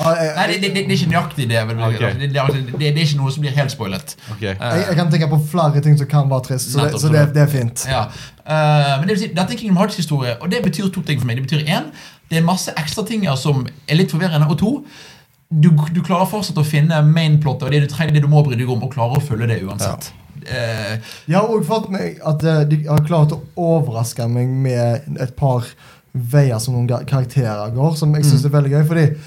Ja, jeg, Nei, det, det, det, det er ikke nøyaktig det. men Ok. det, det, det, det er ikke noe som blir helt spoilet. Ok jeg, jeg kan tenke på flere ting som kan være trist, så det, Nettopp, så det, det er fint. Ja. Eh, men det vil si, dette er Kingdom Hearts-historie, og det betyr to ting for meg. Det betyr en, det er masse ekstra ting her som er litt forvirrende, og to, du, du klarer fortsatt å finne mainplotter og det du trenger, det du må bry deg om, og klarer å følge det uansett. Eh, Jeg har også fått meg at eh, de har klart å overraske meg med et par veier som noen ga- karakterer går, som jeg syns er veldig gøy. Fordi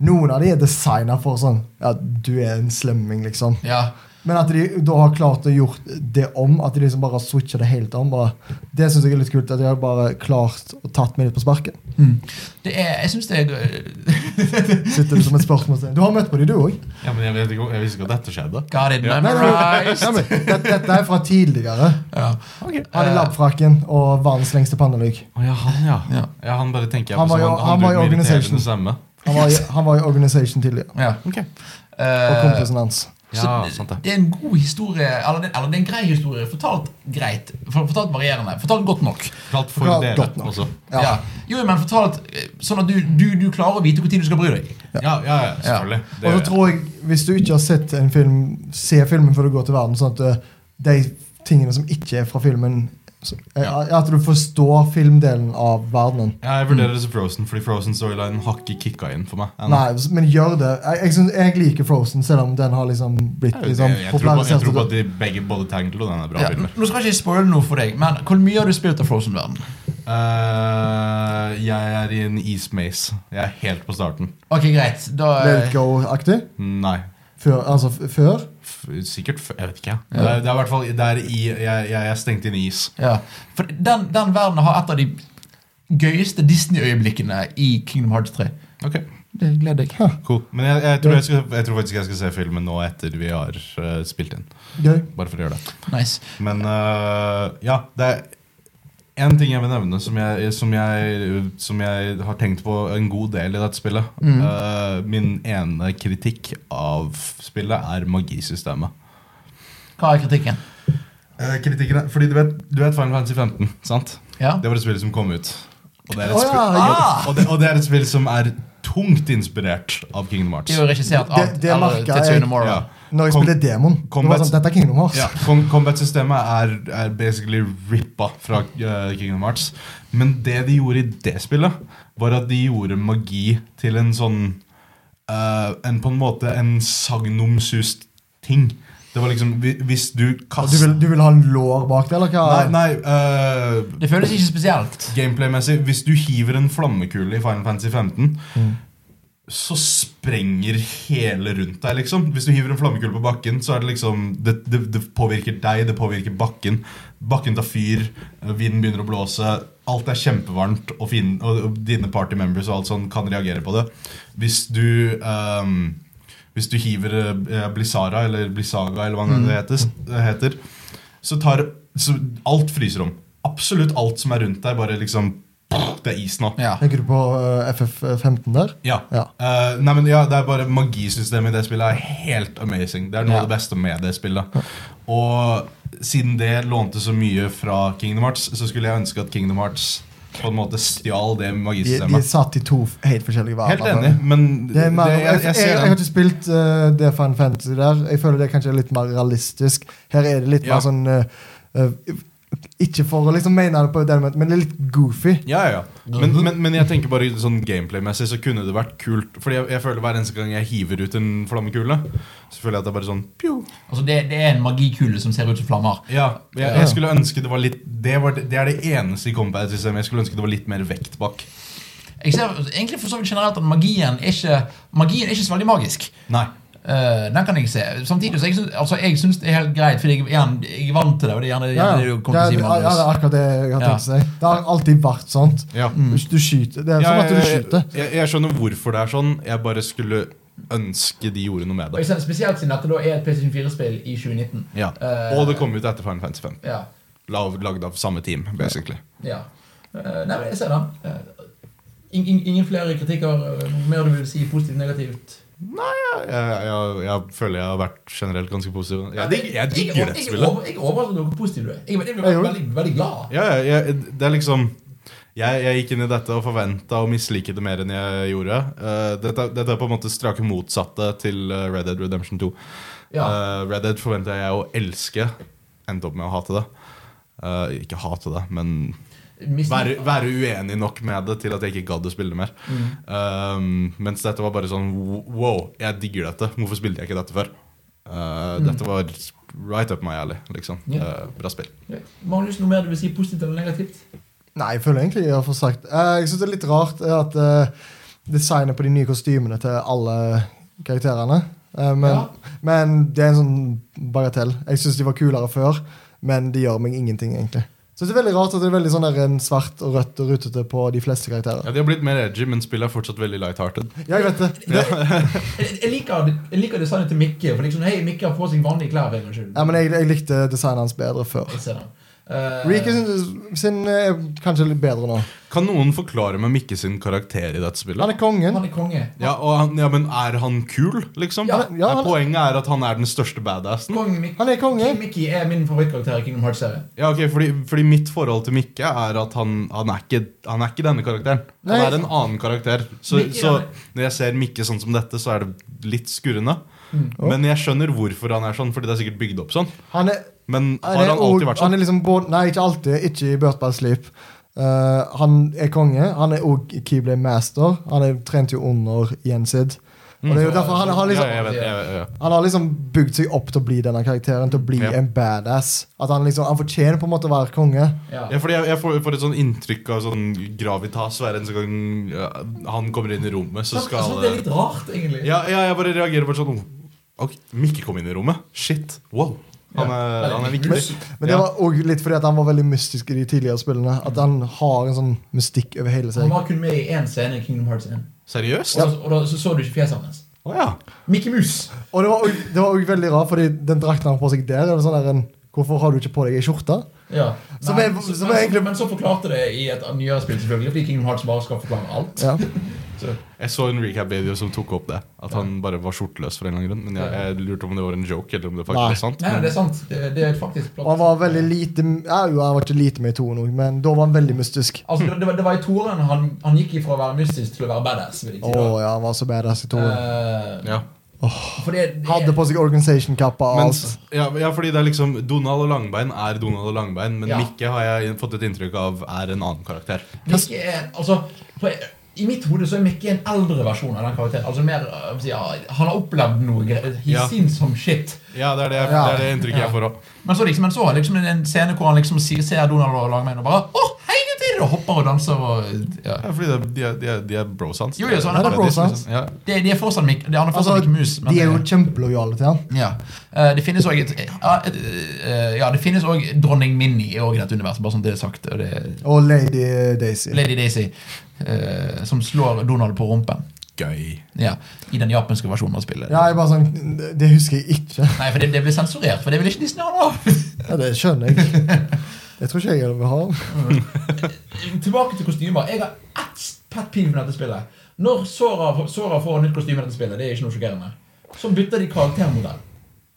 noen av de er designa for sånn Ja, du er en slemming, liksom. ja. Men at de da har klart å gjort det om, at de liksom bare har switcha det helt om, bare, det syns jeg er litt kult. At de har bare klart å tatt meg litt på sparken. Mm. Det er, jeg syns det er Sitter det som et spørsmålstegn. Du har møtt på de, du òg. Ja, men jeg, vet ikke, jeg visste ikke at dette skjedde. Got it Ja. memorized. Dette, dette er fra tidligere. Ja. Han i labfrakken og verdens lengste pannelugg. Å ja, han, ja. Ja. ja. Han bare tenker jeg Han på var som jo- han, han var han, i han Organization. irriterende stemme. Han var, i, han var i Organization tidligere. ja. Ok. Og Eh, kompisen hans. Så Ja, det- sant det. det er en god historie, eller, det- eller det er en grei historie, fortalt greit. For, fortalt varierende. Fortalt godt nok. Fortalt for Forklart dere godt nok. også. Ja. Ja. Jo, men fortalt eh, sånn at du, du, du klarer å vite hvor tid du skal bry deg. Ja, ja, ja selvfølgelig. Det Og så gjør jeg. tror jeg, Hvis du ikke har sett en film, se filmen før du går til verden, sånn at eh, de tingene som ikke er fra filmen så- eh, At du forstår filmdelen av verdenen. Ja, jeg vurderer det som Frozen, fordi Frozen-storylinen har ikke kicka inn for meg. ennå. Nei, men gjør det. Jeg, jeg, synes, jeg liker Frozen, selv om den har liksom blitt Jeg, liksom, jeg, jeg, tror, på- jeg popularisert. tror på at de begge både Tangled og den er bra Ja. filmer. Nå skal jeg ikke spoile noe for deg, men hvor mye har du spilt av Frozen-verden? Eh, jeg er i en ismaze. Jeg er helt på starten. Ok, greit. Da, eh, Let it go-aktig. Nei. Før, altså f- før. F sikkert f Jeg vet ikke. jeg. Det, er, det er i hvert fall det er i, jeg, jeg er stengt inn i is. ja. For den, den verden har et av de gøyeste Disney-øyeblikkene i Kingdom Hearts 3. Ok, Det gleder jeg. cool Men jeg, jeg, tror jeg, skal, jeg tror faktisk jeg skal se filmen nå etter vi har eh, spilt inn. Gøy. Bare for å gjøre det. Nice. Men eh, ja, det er én ting jeg vil nevne som jeg, som, jeg, som jeg har tenkt på en god del i dette spillet. Eh, min ene kritikk av spillet er magisystemet. Hva er kritikken? Eh, kritikken er, fordi du vet, du vet Final Fantasy 15, sant? Ja. Det var et spill som kom ut. Og det er et, Å, spill, ja. og det, og det er et spill som er tungt inspirert av Det Kingdom Hearts. er jo regissert av Det- det eller merket jeg. Tetsuya Nomura. Ja. Når jeg Kom- spiller Demon. Det Combat- var sånn, Dette er Kingdom Hearts. Ja, com- Combat-systemet er, er basically rippa fra eh, Kingdom Hearts. Men det de gjorde i det spillet, var at de gjorde magi til en sånn eh, En på en måte en sagnomsust ting. Det var liksom hvi- Hvis du Du, kaster vil, du vil ha en lår bak deg, eller hva? Nei, nei eh, Det føles ikke spesielt. Gameplay-messig, hvis du hiver en flammekule i Final Fantasy 15, så sprenger hele rundt deg, liksom. Hvis du hiver en flammekule på bakken, så er det liksom Det, det, det påvirker deg, det påvirker bakken. Bakken tar fyr, vinden begynner å blåse. Alt er kjempevarmt, og, fin, og og dine party members og alt sånn kan reagere på det. Hvis du ehm, Hvis du hiver eh, Blizzara, eller Blizzaga, eller hva det heter, det heter så tar så Alt fryser om. Absolutt alt som er rundt deg, bare liksom Det er is nå. Ja. Tenker du på eh, FF15 der? Ja. Ja. Eh, nei, men ja, det er bare Magisystemet i det spillet er helt amazing. Det er noe Ja. av det beste med det spillet. Og siden det lånte så mye fra Kingdom Hearts, så skulle jeg ønske at Kingdom Hearts på en måte stjal det De, de er magisystemet. satt i to f- helt forskjellige Helt verdener. enig, men Det er mer, det- jeg, jeg, jeg, jeg jeg, ser har den. ikke spilt eh, det Final Fantasy der. Jeg føler det kanskje er litt mer realistisk. Her er det litt Ja. mer sånn eh, eh, Ikke for å liksom mene det på den måten, men det er litt goofy. Ja, ja. Mhm. Men, men, men jeg tenker bare sånn gameplay-messig så kunne det vært kult. Fordi jeg, jeg føler hver eneste gang jeg hiver ut en flammekule, så føler jeg at det er bare sånn pju. Altså, det, det er en magikule som ser ut som flammer. Ja, jeg, jeg skulle ønske det var litt Det, var, det er det eneste i combat-systemet jeg skulle ønske det var litt mer vekt bak. Jeg ser altså, egentlig for så vidt generelt at magien er ikke, magien er ikke så veldig magisk. Nei. Eh, den kan jeg se. Samtidig så jeg syns, altså, jeg syns det er helt greit, fordi jeg, igjen, jeg er vant til det. Og det er gjerne, Ja, gjerne det du ja, det kommer er til å si ja, det Magnus. er akkurat det jeg har Ja. tenkt å si. Det har alltid vært sånn. Ja. Hvis Du skyter. Det er som at du skyter. jeg, jeg skjønner hvorfor det er sånn. Jeg bare skulle ønske de gjorde noe med Og jeg det. ser- Spesielt siden dette da er et PlayStation 4-spill i 2019. Ja. Eh, Og det kom ut etter Final Fantasy 5. Ja, Lag- Lagd av samme team, basically. ja. Eh, nei, men jeg ser den. Eh, ing- ing- ingen flere kritikker? eh, noe Mer du vil si positivt, negativt? Jeg, jeg, jeg føler jeg har vært generelt ganske positiv. Jeg, dig- jeg Jeg- digger det jeg- spillet. Jeg er overrasket over hvor positiv du er. Jeg, jeg, jeg, Jeg jeg òg. veldig, veldig glad. Ja, ja, jeg, det er liksom Jeg, jeg gikk inn i dette og forventa å mislike det mer enn jeg gjorde. Eh, dette, dette er på en måte strake motsatte til eh, Red Dead Redemption 2. Eh, Red Dead forventa jeg å elske. Endte opp med å hate det. Eh, ikke hate det, men være, være uenig nok med det til at jeg ikke gadd å spille det mer. Mm. Um, mens dette var bare sånn Wow, jeg digger dette. Hvorfor spilte jeg ikke dette før? Eh, Dette var right up my alley. liksom Ja. Eh, Bra spill. Magnus, noe mer du vil si positivt eller negativt? Nei, jeg føler egentlig jeg har fått sagt Eh, Jeg syns det er litt rart eh, at eh, designet på de nye kostymene til alle karakterene eh, men, Ja. men det er en sånn bagatell. Jeg syns de var kulere før, men de gjør meg ingenting, egentlig. Så det er veldig rart at det er veldig sånn der en svart og rødt og rutete på de fleste Ja, karakterer. De har blitt mer edgy, men spillet er fortsatt veldig light-hearted. Ja, jeg vet det. det Jeg, jeg, liker, jeg liker designet til Mikke. For liksom, hei, Mikke har på seg vanlige klær. for en gangs skyld. ja, men jeg, jeg likte designet hans bedre før. Jeg ser den. Eh, Rike sin, sin er kanskje litt bedre nå. Kan noen forklare meg Mikke sin karakter i dette spillet? Han er kongen. Han er konge. Ja, og han, ja, men er han kul, liksom? Ja, ja, Nei, han- Poenget er at han er den største badassen. Kong Mikke. Han er konge. King Mickey er min favorittkarakter i Kingdom Hearts-serien. Ja, ok, fordi, fordi mitt forhold til Mikke er at han, han, er ikke, han er ikke denne karakteren. Han Nei. er en annen karakter. Så, Mikke er så det. når jeg ser Mikke sånn som dette, så er det litt skurrende. Mm, Men jeg skjønner hvorfor han er sånn, fordi det er sikkert bygd opp sånn. Han er, Men han har er, han alltid og, vært han sånn? er liksom både Nei, ikke alltid. Ikke i Burtball Sleep. Eh, han er konge. Han er òg Keyblade Master. Han er trent jo under Jensid. Og det er jo derfor han har Mm. Ja, liksom jeg vet, jeg, jeg, jeg. han har liksom bygd seg opp til å bli denne karakteren, til å bli Ja. en badass. At Han liksom, han fortjener på en måte å være konge. Ja. Ja, fordi jeg, jeg får, får et sånn inntrykk av sånn gravitas hver eneste gang ja, han kommer inn i rommet. Så Så, skal så Sånn- altså, det er litt rart, egentlig. Ja, ja, jeg bare reagerer på det sånn oh, ok, Mikke kom inn i rommet. Shit. Wow. Han er, Ja. han er Men- viktig. Men det Ja. var òg litt fordi at han var veldig mystisk i de tidligere spillene. At han har en sånn mystikk over Han hele seg. var kun med i én scene i Kingdom Hearts 1. Og, Seriøst? da, og da så, så du ikke fjeset hans. Å ja. Mickey Mus. Og det var også- det var òg veldig rart, fordi den drakten han har på seg der, er det sånn der en, Hvorfor har du ikke på deg ei skjorte? Ja. Som Nei, er- så, som men, er egentlig- men så forklarte det i et nyere spill, selvfølgelig. Fordi Kingdom Hearts bare skal forklare alt. Ja. Så, Jeg så en recap-video som tok opp det. At han bare var skjorteløs. for en eller annen grunn Men jeg, jeg lurte om det var en joke, eller om det faktisk Nei. var sant. nei, nei, det er sant. Det, det er faktisk Og han var veldig lite ja, jo, Han var ikke lite med i toen òg, men da var han veldig mystisk. Altså, det, det, var, det var i toeren han, han gikk ifra å være mystisk til å være badass. Vil jeg si, Å da. ja, han var så badass i toen. Eh, Ja. for det, det, Hadde på seg Organization-kappa og Mens, alt. ja, ja, fordi det er liksom Donald og Langbein er Donald og Langbein, men Ja. Mikke har jeg fått et inntrykk av er en annen karakter. Mikke er, altså, på, I mitt hode så er Mikke en eldre versjon av den karakteren. Altså mer, øh, hva skal jeg si, ja, Han har opplevd noe. gre- He's Ja. seen some shit. Ja, det er det, jeg- Ja. Det, er det inntrykket jeg får òg. Men så liksom, men så er det liksom en- en scene hvor han liksom sier, ser Donald og Langbein og bare Å, hei, gutter! Og hopper og danser og ja. Ja, fordi det, de, er, de, er, de er bros hans. Jo, jo, så han er bros hans. Ja. Det, de er fortsatt Mikke. De andre er fortsatt Altså, Mikke Mus. men- de er jo kjempelojale til han. Ja. Eh, Det finnes òg et ja, et, eh, ja, det finnes også dronning Minnie i også i dette universet, bare sånn det er sagt. Og det er Og Lady Daisy. Lady Daisy eh, som slår Donald på rumpen. Gøy. Ja, I den japanske versjonen av spillet. Ja, jeg bare sånn, Det husker jeg ikke. Nei, for det, det ble sensurert, for det vil ikke Disney ha nå. Ja, Det skjønner jeg. Det tror ikke jeg jeg vil ha. Tilbake til kostymer. Jeg har ett pet peeve med dette spillet. Når Sora, Sora får nytt kostyme i dette spillet, det er ikke noe sjokkerende, så bytter de karaktermodell.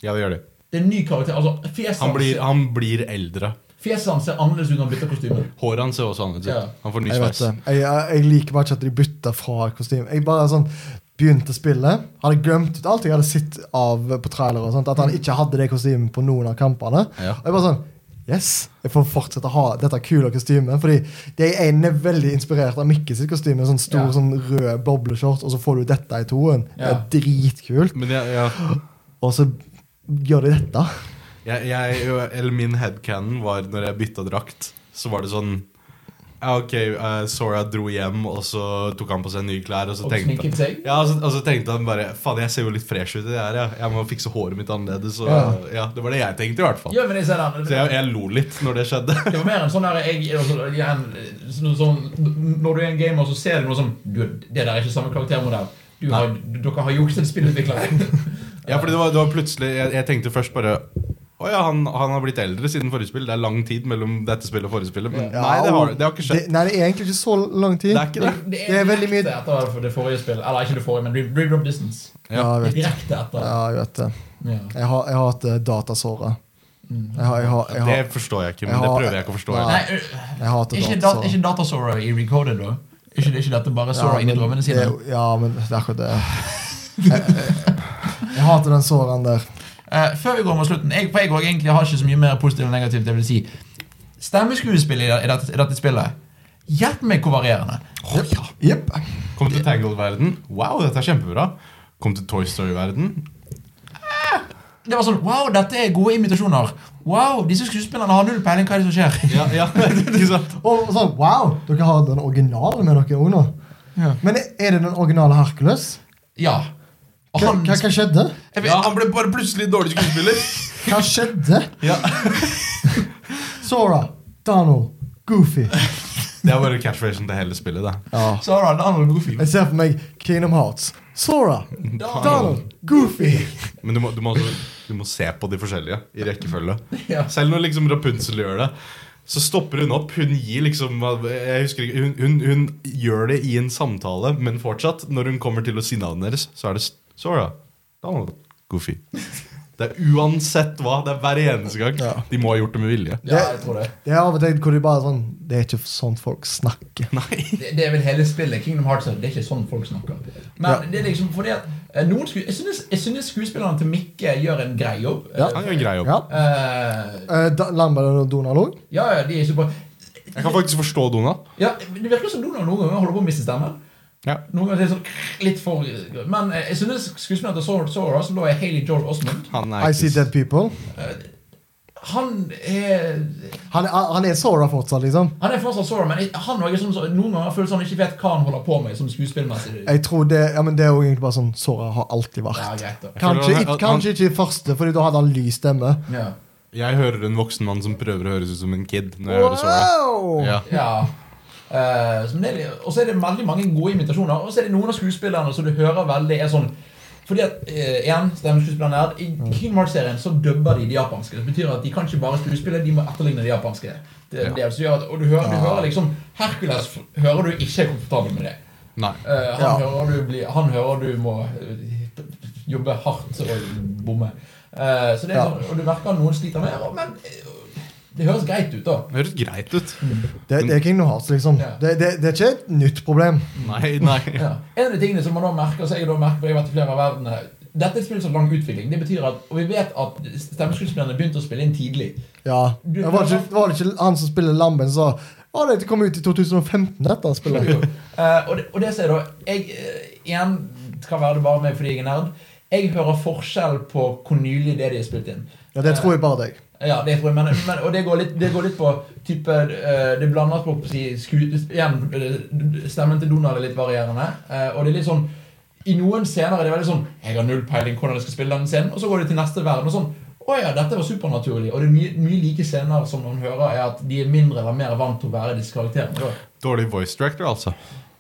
Ja, det gjør de. Det er en ny karakter. Altså, fjeset Han hans- blir, han blir eldre. fjeset hans ser annerledes ut når han bytter kostyme. Håret hans ser også annerledes ut. Ja. Han får ny Jeg vet sveis. det. Jeg, jeg, jeg liker bare ikke at de bytta fra kostyme. Jeg bare sånn begynte spillet, hadde glemt ut alt jeg hadde sett av på trailere, og sånt, at han ikke hadde det kostymet på noen av kampene. Mm. Ja. Og jeg bare sånn Yes! Jeg får fortsette å ha dette kule kostymet. Fordi det ene er veldig inspirert av Mikke sitt kostyme. Sånn stor Ja. sånn rød bobleshort, og så får du dette i toen. Ja. Det er dritkult. Men jeg, ja, Og så gjør de dette. jeg, jeg, eller min headcanon var når jeg bytta drakt, så var det sånn ja, ok, eh, Sora dro hjem, og så tok han på seg nye klær. Og så Og tenkte, sminket seg? ja, og så, og så tenkte han bare Faen, jeg ser jo litt fresh ut i det her. Ja. Jeg må fikse håret mitt annerledes. Og, ja. Ja. Det var det jeg tenkte, i hvert fall. Ja, men jeg ser den. Så jeg, jeg lo litt når det skjedde. Det var mer en sånn der jeg, altså, igjen, sånn, sånn, Når du er en gamer, så ser du noe sånn du, Det der er ikke samme karaktermodell. Du har, dere har jukset spillutviklere. Ja, fordi det var, det var plutselig jeg, jeg tenkte først bare å ja, han, han har blitt eldre siden forrige spill. Det er lang tid mellom dette spillet og forrige spillet. Men Ja, nei, det har, det har ikke Det, skjedd. nei, det er egentlig ikke så lang tid. Det er ikke det. Det er veldig mye- direkte etter det forrige spillet. Eller ikke det forrige, men Bring Drop Distance. Ja, Det jeg er vet det. Direkte etter. Ja, jeg vet det. Ja. Jeg har, jeg har hatt eh, datasåret. Jeg har, jeg har, jeg har, Det forstår jeg ikke, men Jeg det har- prøver jeg ikke å forstå. Nei. Nei, heller. ø, jeg hater ikke, data, dat, så- ikke datasora i Recoded, da? Ikke, ikke dette bare Sora inni men drømmene sine? det er jo- Ja, men det er akkurat det. Jeg, jeg, jeg hater den såraen der. Eh, før vi går mot slutten jeg, For jeg også egentlig har ikke så mye mer positivt enn negativt. Det vil si Stemmeskuespill i, i, dette, i dette spillet Hjelp meg hvor varierende. Jepp. Kom til Tangled-verden. Wow, dette er kjempebra. Kom til Toy Story-verden. Det var sånn Wow, dette er gode imitasjoner. Wow, disse skuespillerne har null peiling hva er det som skjer. liksom- Ja, ja, ikke sant? Og sånn, wow, dere har den originale med dere òg nå. Ja. Men er det den originale Hercules? Ja. Og Hva, han, hva, hva skjedde? jeg vet- ja, han ble bare plutselig dårlig skuespiller. Hva skjedde? Ja. Sora, Donald, Goofy. Det er bare catchphrasen til hele spillet. da Ja. Så da, Donald Goofy. Jeg ser for meg Kingdom Hearts. Sora, Donald, Goofy. Men du må, du, må, også- du må se på de forskjellige i rekkefølge. Ja. Selv når liksom Rapunzel gjør det, så stopper hun opp. Hun gir liksom jeg husker ikke, hun, hun, hun gjør det i en samtale, men fortsatt, når hun kommer til å si navnet deres, så er det Sora. Donald. Goofy. Det er uansett hva. Det er hver eneste gang. Ja. De må ha gjort det med vilje. Ja, jeg tror det. Det er av og til hvor de bare sånn Det er ikke sånn folk snakker. Nei. det. Det er vel hele spillet. Kingdom Hearts det er ikke sånn folk snakker. Men Ja. det er liksom fordi at eh, noen sku, jeg, synes, jeg synes skuespillerne til Mikke gjør en grei jobb. Ja. Han gjør en grei jobb. Ja. Eh, Eh, da- Lambert og Donald òg? ja, ja, de er ikke bra. Jeg kan faktisk forstå Donald. Ja, Det virker som Donald noen ganger holder på å miste stemmen. Ja. Noen ganger er det sånn litt for Men eh, jeg synes skuespilleren til Sora, Sora som da er Haley Joel Osmond Han er I See Dead People. Han er Han, er- han er Sora fortsatt, liksom. Han er fortsatt Sora, men jeg- han også er sånn, som- noen ganger føles han ikke vet hva han holder på med som skuespillmessig. Jeg tror Det ja, men det er jo egentlig bare sånn Sora har alltid Ja, vært. greit da. Kanskje, Jeg føler ikke, han- kanskje ikke i første, Fordi da hadde han lys stemme. Ja. Jeg hører en voksen mann som prøver å høres ut som en kid. Når jeg hører Sora. Wow! Ja. ja. Eh, så men det er- og så er det veldig mange gode imitasjoner. Og så er det noen av skuespillerne som du hører veldig er sånn fordi at, eh, igjen, stemmeskuespillerne er I Kingdom Hearts-serien så dubber de de japanske. Det betyr at de kan ikke bare skuespille, de må etterligne de japanske. Det, er Ja. det som gjør at, og du hører, du hører liksom Hercules f- hører du ikke er komfortabel med det. Nei. Eh, han, Ja. hører du bli, han hører du må eh, jobbe hardt og bomme. Eh, så det er Ja. sånn, og det verker noen sliter med det, men eh, det høres greit ut, da. Det høres greit ut. Det, det er Kingdom Hearts, liksom. Ja. Det, det, det er ikke et nytt problem. Nei, nei. Ja. En av de tingene som man da merker, så jeg da merker, for jeg har vært i flere av verdenene Dette er et spill som har lang utvikling. Det betyr at, Og vi vet at stemmeskuespillerne begynte å spille inn tidlig. Ja. Du- Det var, ikke, det var ikke han som spiller Lamben, som sa Å, det kom ut i 2015, dette spillet. Eh, og, det, og det sier da Jeg eh, igjen kan være det bare meg fordi jeg er nerd. Jeg hører forskjell på hvor nylig det de har spilt inn. Ja, Det tror jeg bare deg. Ja, det tror jeg, men, men, og det går litt, det går litt på type eh, Det blandes på å si, sku, igjen, eh, Stemmen til Donald er litt varierende. eh, og det er litt sånn I noen scener er det veldig sånn 'Jeg har null peiling hvordan jeg skal spille denne scenen.' Og så går det til neste verden og sånn 'Å ja, dette var supernaturlig.' Og det er mye, mye like scener som man hører, er at de er mindre eller mer vant til å være disse karakterene. Da. Dårlig voice director, altså.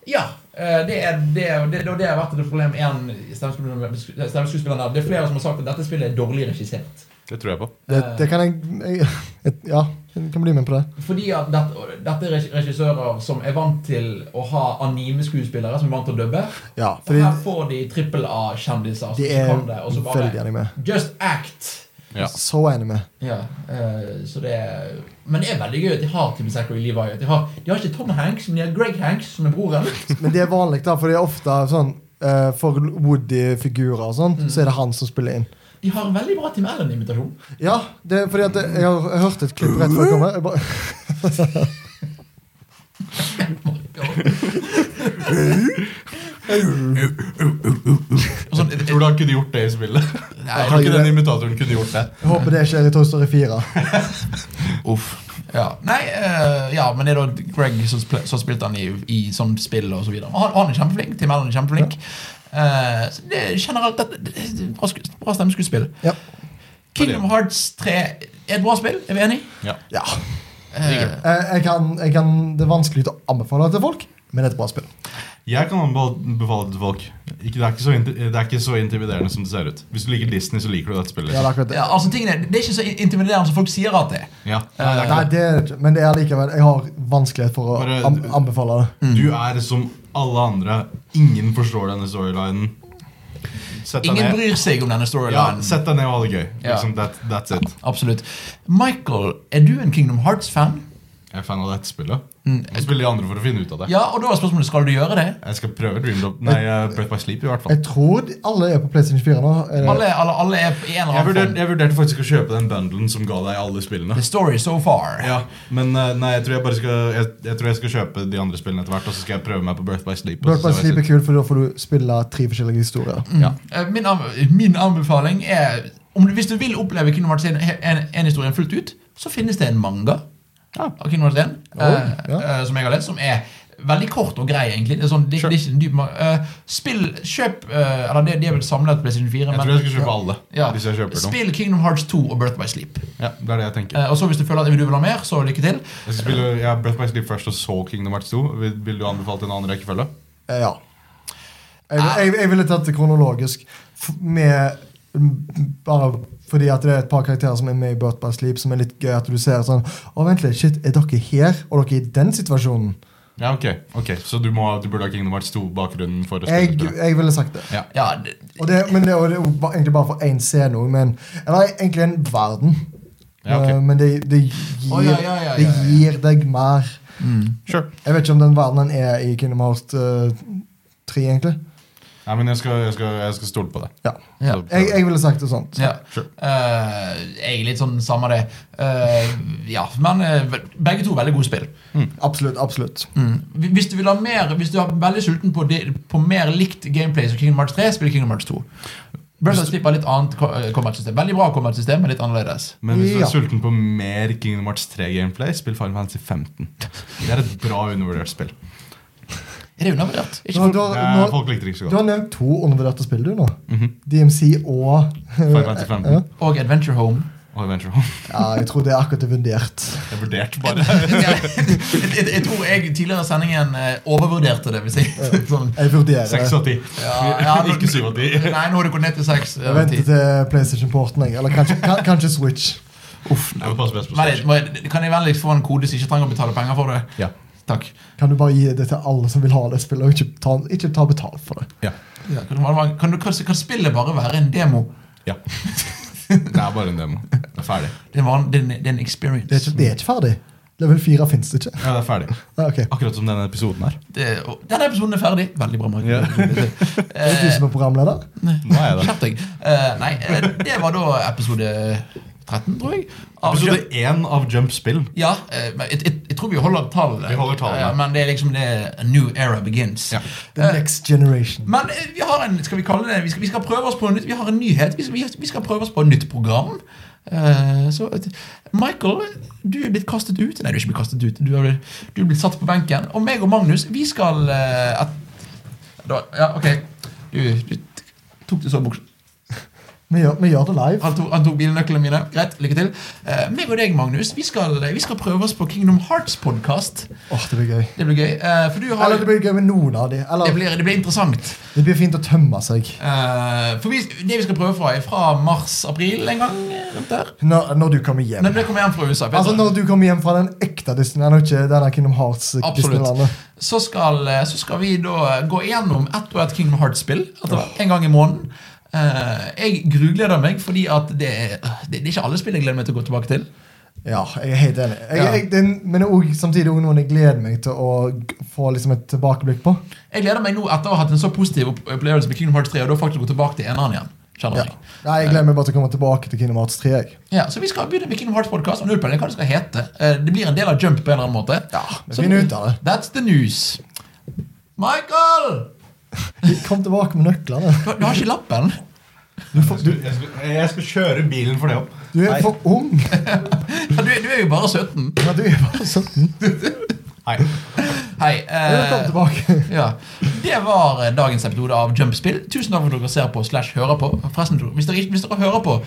Ja, eh, det er det, er- det, og det har vært et problem igjen i stemmeskuespillerne. stemmeskuespillerne. Det er flere som har sagt at dette spillet er dårlig regissert. Det tror jeg på. Det, det kan jeg, jeg et- Ja, jeg kan bli med på det. Fordi at dette, dette er regi- regissører som er vant til å ha anime-skuespillere som er vant til å dubbe. Ja, Og fordi her får de trippel A-kjendiser som de er kan det, og så veldig bare anime. Just act! Ja. Så anime. Ja, eh, så det er, men det er veldig gøy at de har Tim Zachary Levi. At de, har, de har ikke Tom Hanks, men de har Greg Hanks, som er broren. Men det er vanlig, da, for det er ofte sånn eh, For Woody-figurer og sånt, Mm. så er det han som spiller inn. De har en veldig bra Tim Allen-imitasjon. Ja, det er fordi at jeg har jeg hørte et klipp rett før jeg kom her. Jeg bare- Mm. Og sånn, Tror du han kunne gjort det i spillet? Nei, jeg tror ikke den imitatoren kunne gjort det. Jeg håper det skjer i Toy Story 4. Uff. ja. Nei, eh, ja, men det er da Greg som, spil, som spilte han i, i sånn spill og så videre. Og Han, han er kjempeflink. Tim Allen er kjempeflink. Eh, så det er generelt dette- det, det, bra, sku- bra stemmeskuespill. Ja. Kingdom Hearts 3 er et bra spill, er vi enige? Ja. ja. Eh, Eh, Jeg kan, jeg kan, det er vanskelig å anbefale det til folk, men det er et bra spill. Jeg kan anbefale det til folk. Ikke, det, er ikke så inti- det er ikke så intimiderende som det ser ut. Hvis du liker Disney, så liker du dette spillet. Ja, det er akkurat det. ja, altså tingene, det er ikke så intimiderende som folk sier at det er. Ja. Eh, Nei, det er det ikke, men det er likevel Jeg har vanskelighet for å Bare- an- Mm. anbefale det. Du er som alle andre. Ingen forstår denne storylinen. Sett deg Ingen ned. bryr seg om denne Ja, storylinen. Sett deg ned og ha det gøy. Ja. Liksom, that, that's it. Absolutt. Michael, er du en Kingdom Hearts-fan? Jeg er fan av dette spillet. Jeg spiller de andre for å finne ut av det. Mm. Ja, og da er spørsmålet skal du gjøre det. Jeg skal prøve Dream Drop Nei, eh, Breath by Sleep i hvert fall. Jeg tror de- alle er på PlayStation 4 nå. Eh, Er det- Alle, alle, alle er i en eller Jeg annen vurderte, form. jeg vurderte faktisk å kjøpe den bundlen som ga deg alle spillene. The story so far. Ja, Men eh, nei, jeg tror jeg bare skal jeg, jeg tror jeg skal kjøpe de andre spillene etter hvert, og så skal jeg prøve meg på Birth by Sleep. og Birth så by ser Sleep jeg- er kult, for da får du spille tre forskjellige historier. Ja. Eh, Min, anbe- min anbefaling er om du, Hvis du vil oppleve Kingdom Hearts 1, en, en historien fullt ut, så finnes det en manga av Kingdom Hearts 1 eh, ja. eh, som jeg har lest, som er veldig kort og grei, egentlig. Det er sånn, det, det er ikke en dyp ma- eh, Spill Kjøp eh, Eller det, de er vel samlet på PlayStation 4, Jeg tror jeg skal kjøpe alle. ja, Hvis jeg kjøper noe. spill Kingdom Hearts 2 og Birth by Sleep. Ja, det er det jeg tenker. Eh, og så Hvis du føler at du vil ha mer, så lykke til. Jeg skal spille ja, Breath by Sleep først, og så Kingdom Hearts 2. Vil, vil du anbefale en annen rekkefølge? Eh, Ja. Jeg, jeg, jeg ville tatt det kronologisk f- med Bare fordi at det er et par karakterer som er med i Birth by Sleep, som er litt gøy at du ser sånn Å, vent litt, shit, er dere her? Og dere er i den situasjonen? Ja, ok, ok Så du, må, du burde ha Kingdom Hearts 2-bakgrunnen for å spille Jeg, spillet? jeg ville sagt det. Ja. Ja, det, Og det, men det, og det er jo ba- egentlig bare for én scene òg, men Eller egentlig en verden. Ja, ok. Eh, Men det, det, gir, Å, ja, ja, ja, ja, det gir deg mer. Sure. Jeg vet ikke om den verdenen er i Kingdom Hearts eh, 3, egentlig. Nei, men jeg skal, jeg skal, jeg skal stole på det. Ja. ja. Så- Jeg, jeg ville sagt det sånn. Ja. Sure. Eh, jeg er litt sånn samme det. Eh, ja, men eh, begge to veldig gode spill. Absolutt. absolutt. Hvis- Hvis du vil ha mer Hvis du er veldig sulten på, det, på mer likt gameplay som Kingdom Hearts 3, spiller Kingdom Hearts 2. Breath of the Sleep har litt annet ko- eh, combat-system. Veldig bra combat-system, men litt annerledes. Men hvis du Ja. er sulten på mer Kingdom Hearts 3-gameplay, spill Final Fantasy 15. Det er et bra undervurdert spill. Er det undervurdert? Du, Ikke har- for- du, Det har- er, Mhm. nå- folk likte det ikke så du godt. har nevnt to undervurderte spill, du, nå. DMC og Final Fantasy 15 Og Adventure Home. og Adventure Home. Ja, jeg tror det er akkurat det vurdert. Jeg vurderte bare. jeg, jeg, jeg tror jeg tidligere i sendingen eh, overvurderte det. Hvis jeg, sånn, Jeg vurderer. 6 av 10. ja, ja, nå- Ikke 7 av 10. Nei, nå har det gått ned til seks. eh, Jeg venter til PlayStation-porten, jeg. Eller kanskje, kan, kanskje Switch. Uff, nei, men pass best på Vent litt, Switch. må jeg- Kan jeg vennligst få en kode som ikke trenger å betale penger for det? Ja. Takk. Kan du bare gi det til alle som vil ha det spillet, og ikke ta, ikke ta betalt for det? Ja. Ja, kan, man- kan, du- kan, kan spillet bare være en demo? ja. Det er bare en demo. Det er ferdig. Det er en, van- det er en, det er en experience. Det er ikke, det er ikke ferdig. Level 4 fins det ikke. Ja, det er ferdig. Ja, ok. Akkurat som denne episoden her. Det- og denne episoden er ferdig. Veldig bra, Mark. Ja. Er det du som er programleder? Nå er jeg det. Skjerp deg. Eh, nei, eh, det var da episode 13, tror jeg. av Episode Jump- 1 av Jump Spill. Ja, eh, men jeg, jeg, jeg tror vi holder tallene. Vi holder tallene. Ja, men det er liksom det A new era begins. Eh, Ja. The next generation. Men eh, vi har en skal vi kalle det, vi skal, vi skal prøve oss på en nytt, vi har en nyhet. Vi skal, vi- vi skal prøve oss på et nytt program. Eh, så, eh, Michael, du er blitt kastet ut. Nei, du er ikke blitt kastet ut. Du er, blitt- du er blitt satt på benken. Og meg og Magnus, vi skal eh, at, da, Ja, OK. Du, du tok det så bort. Vi gjør, vi gjør det live. Han tok, han tok bilnøklene mine. Greit, lykke til. Eh, meg og deg, Magnus, vi skal, vi skal prøve oss på Kingdom Hearts-podkast. Åh, det blir gøy. Det blir gøy. eh, for du har Eller det blir gøy med noen av de. det Eller blir, det blir interessant. det blir fint å tømme seg. Eh, for vi, det vi skal prøve fra, er fra mars-april en gang. eh, rundt Der. Når, når du kommer hjem. Nei, men det kommer hjem fra USA. Peter. Altså Når du kommer hjem fra den ekte Disneyland, og ikke denne Kingdom Hearts-Disneylandet. så, skal, eh, så skal vi da gå gjennom ett og ett Kingdom Hearts-spill etter hvert, en gang i måneden. Eh, jeg grugleder meg, fordi at det er, det, det er ikke alle spill jeg gleder meg til å gå tilbake til. Ja, jeg er helt enig. Jeg, Ja. jeg, den, men det er også, samtidig også noen jeg gleder meg til å g- få liksom et tilbakeblikk på. Jeg gleder meg nå etter å ha hatt en så positiv opp- opplevelse med Kingdom Hearts 3, og da faktisk gå tilbake til eneren igjen. Ja. Kjenner jeg. Nei, Jeg gleder meg bare til å komme tilbake til Kingdom Hearts 3. Jeg. Ja, så vi skal begynne med Kingdom Hearts podcast og nullpeiling hva det skal hete. Eh, Det blir en del av Jump på en eller annen måte. Ja, vi Så- finner ut av det. That's the news. Michael! Kom tilbake med nøklene. Du, du har ikke lappen? Jeg skal, jeg, skal, jeg skal kjøre bilen for det opp. Du er for ung. Ja, Du, du er jo bare 17. Ja, du er bare 17. Nei. Hei. Kom Eh, tilbake. ja. Det var eh, dagens episode av Jumpspill. Tusen takk for at dere ser på slash hører på. Forresten, hvis dere, ikke- hvis dere hører på,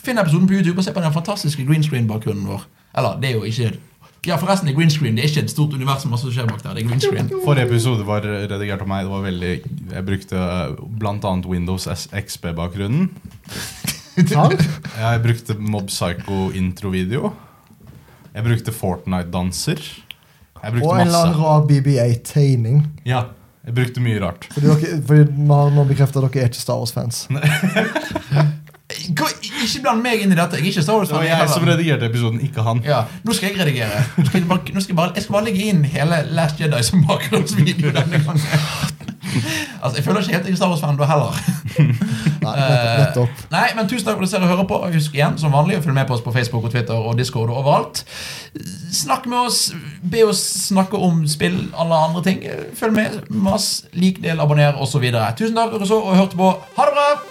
finn episoden på YouTube og se på den fantastiske green screen-bakgrunnen vår. Eller, det er jo ikke Ja, forresten, det er green screen. Det er ikke et stort univers som også skjer bak der. Det er green screen. Forrige episode var redigert av meg. Det var veldig, jeg brukte bl.a. Windows XB-bakgrunnen. Tar. Jeg brukte Mob Psycho-introvideo. Jeg brukte Fortnite-danser. Jeg Og brukte en eller annen masse. rar BBA-tegning. Ja, Jeg brukte mye rart. Fordi, dere, fordi vi har nå bekreftet at dere er ikke Star Wars-fans. Gå, ikke bland meg inn i dette. Jeg er ikke Star Sånn Det var Wars-fan. jeg som heller. redigerte episoden, ikke han. Ja, nå skal jeg redigere. Nå skal jeg, bare, nå skal jeg, bare, jeg skal bare legge inn hele Last Jedi som bakgrunnsvideo denne gangen. Altså, Jeg føler ikke helt jeg er Star Wars-fan da heller. Nei, nettopp, nettopp. Eh, Nei, men Tusen takk for at dere hører på. Og Husk igjen, som vanlig, å følge med på oss på Facebook og Twitter og Discord og overalt. Snakk med oss. Be oss snakke om spill alle andre ting. Følg med. Mass, lik, del, abonner osv. Tusen takk for at dere så og hørte på. Ha det bra!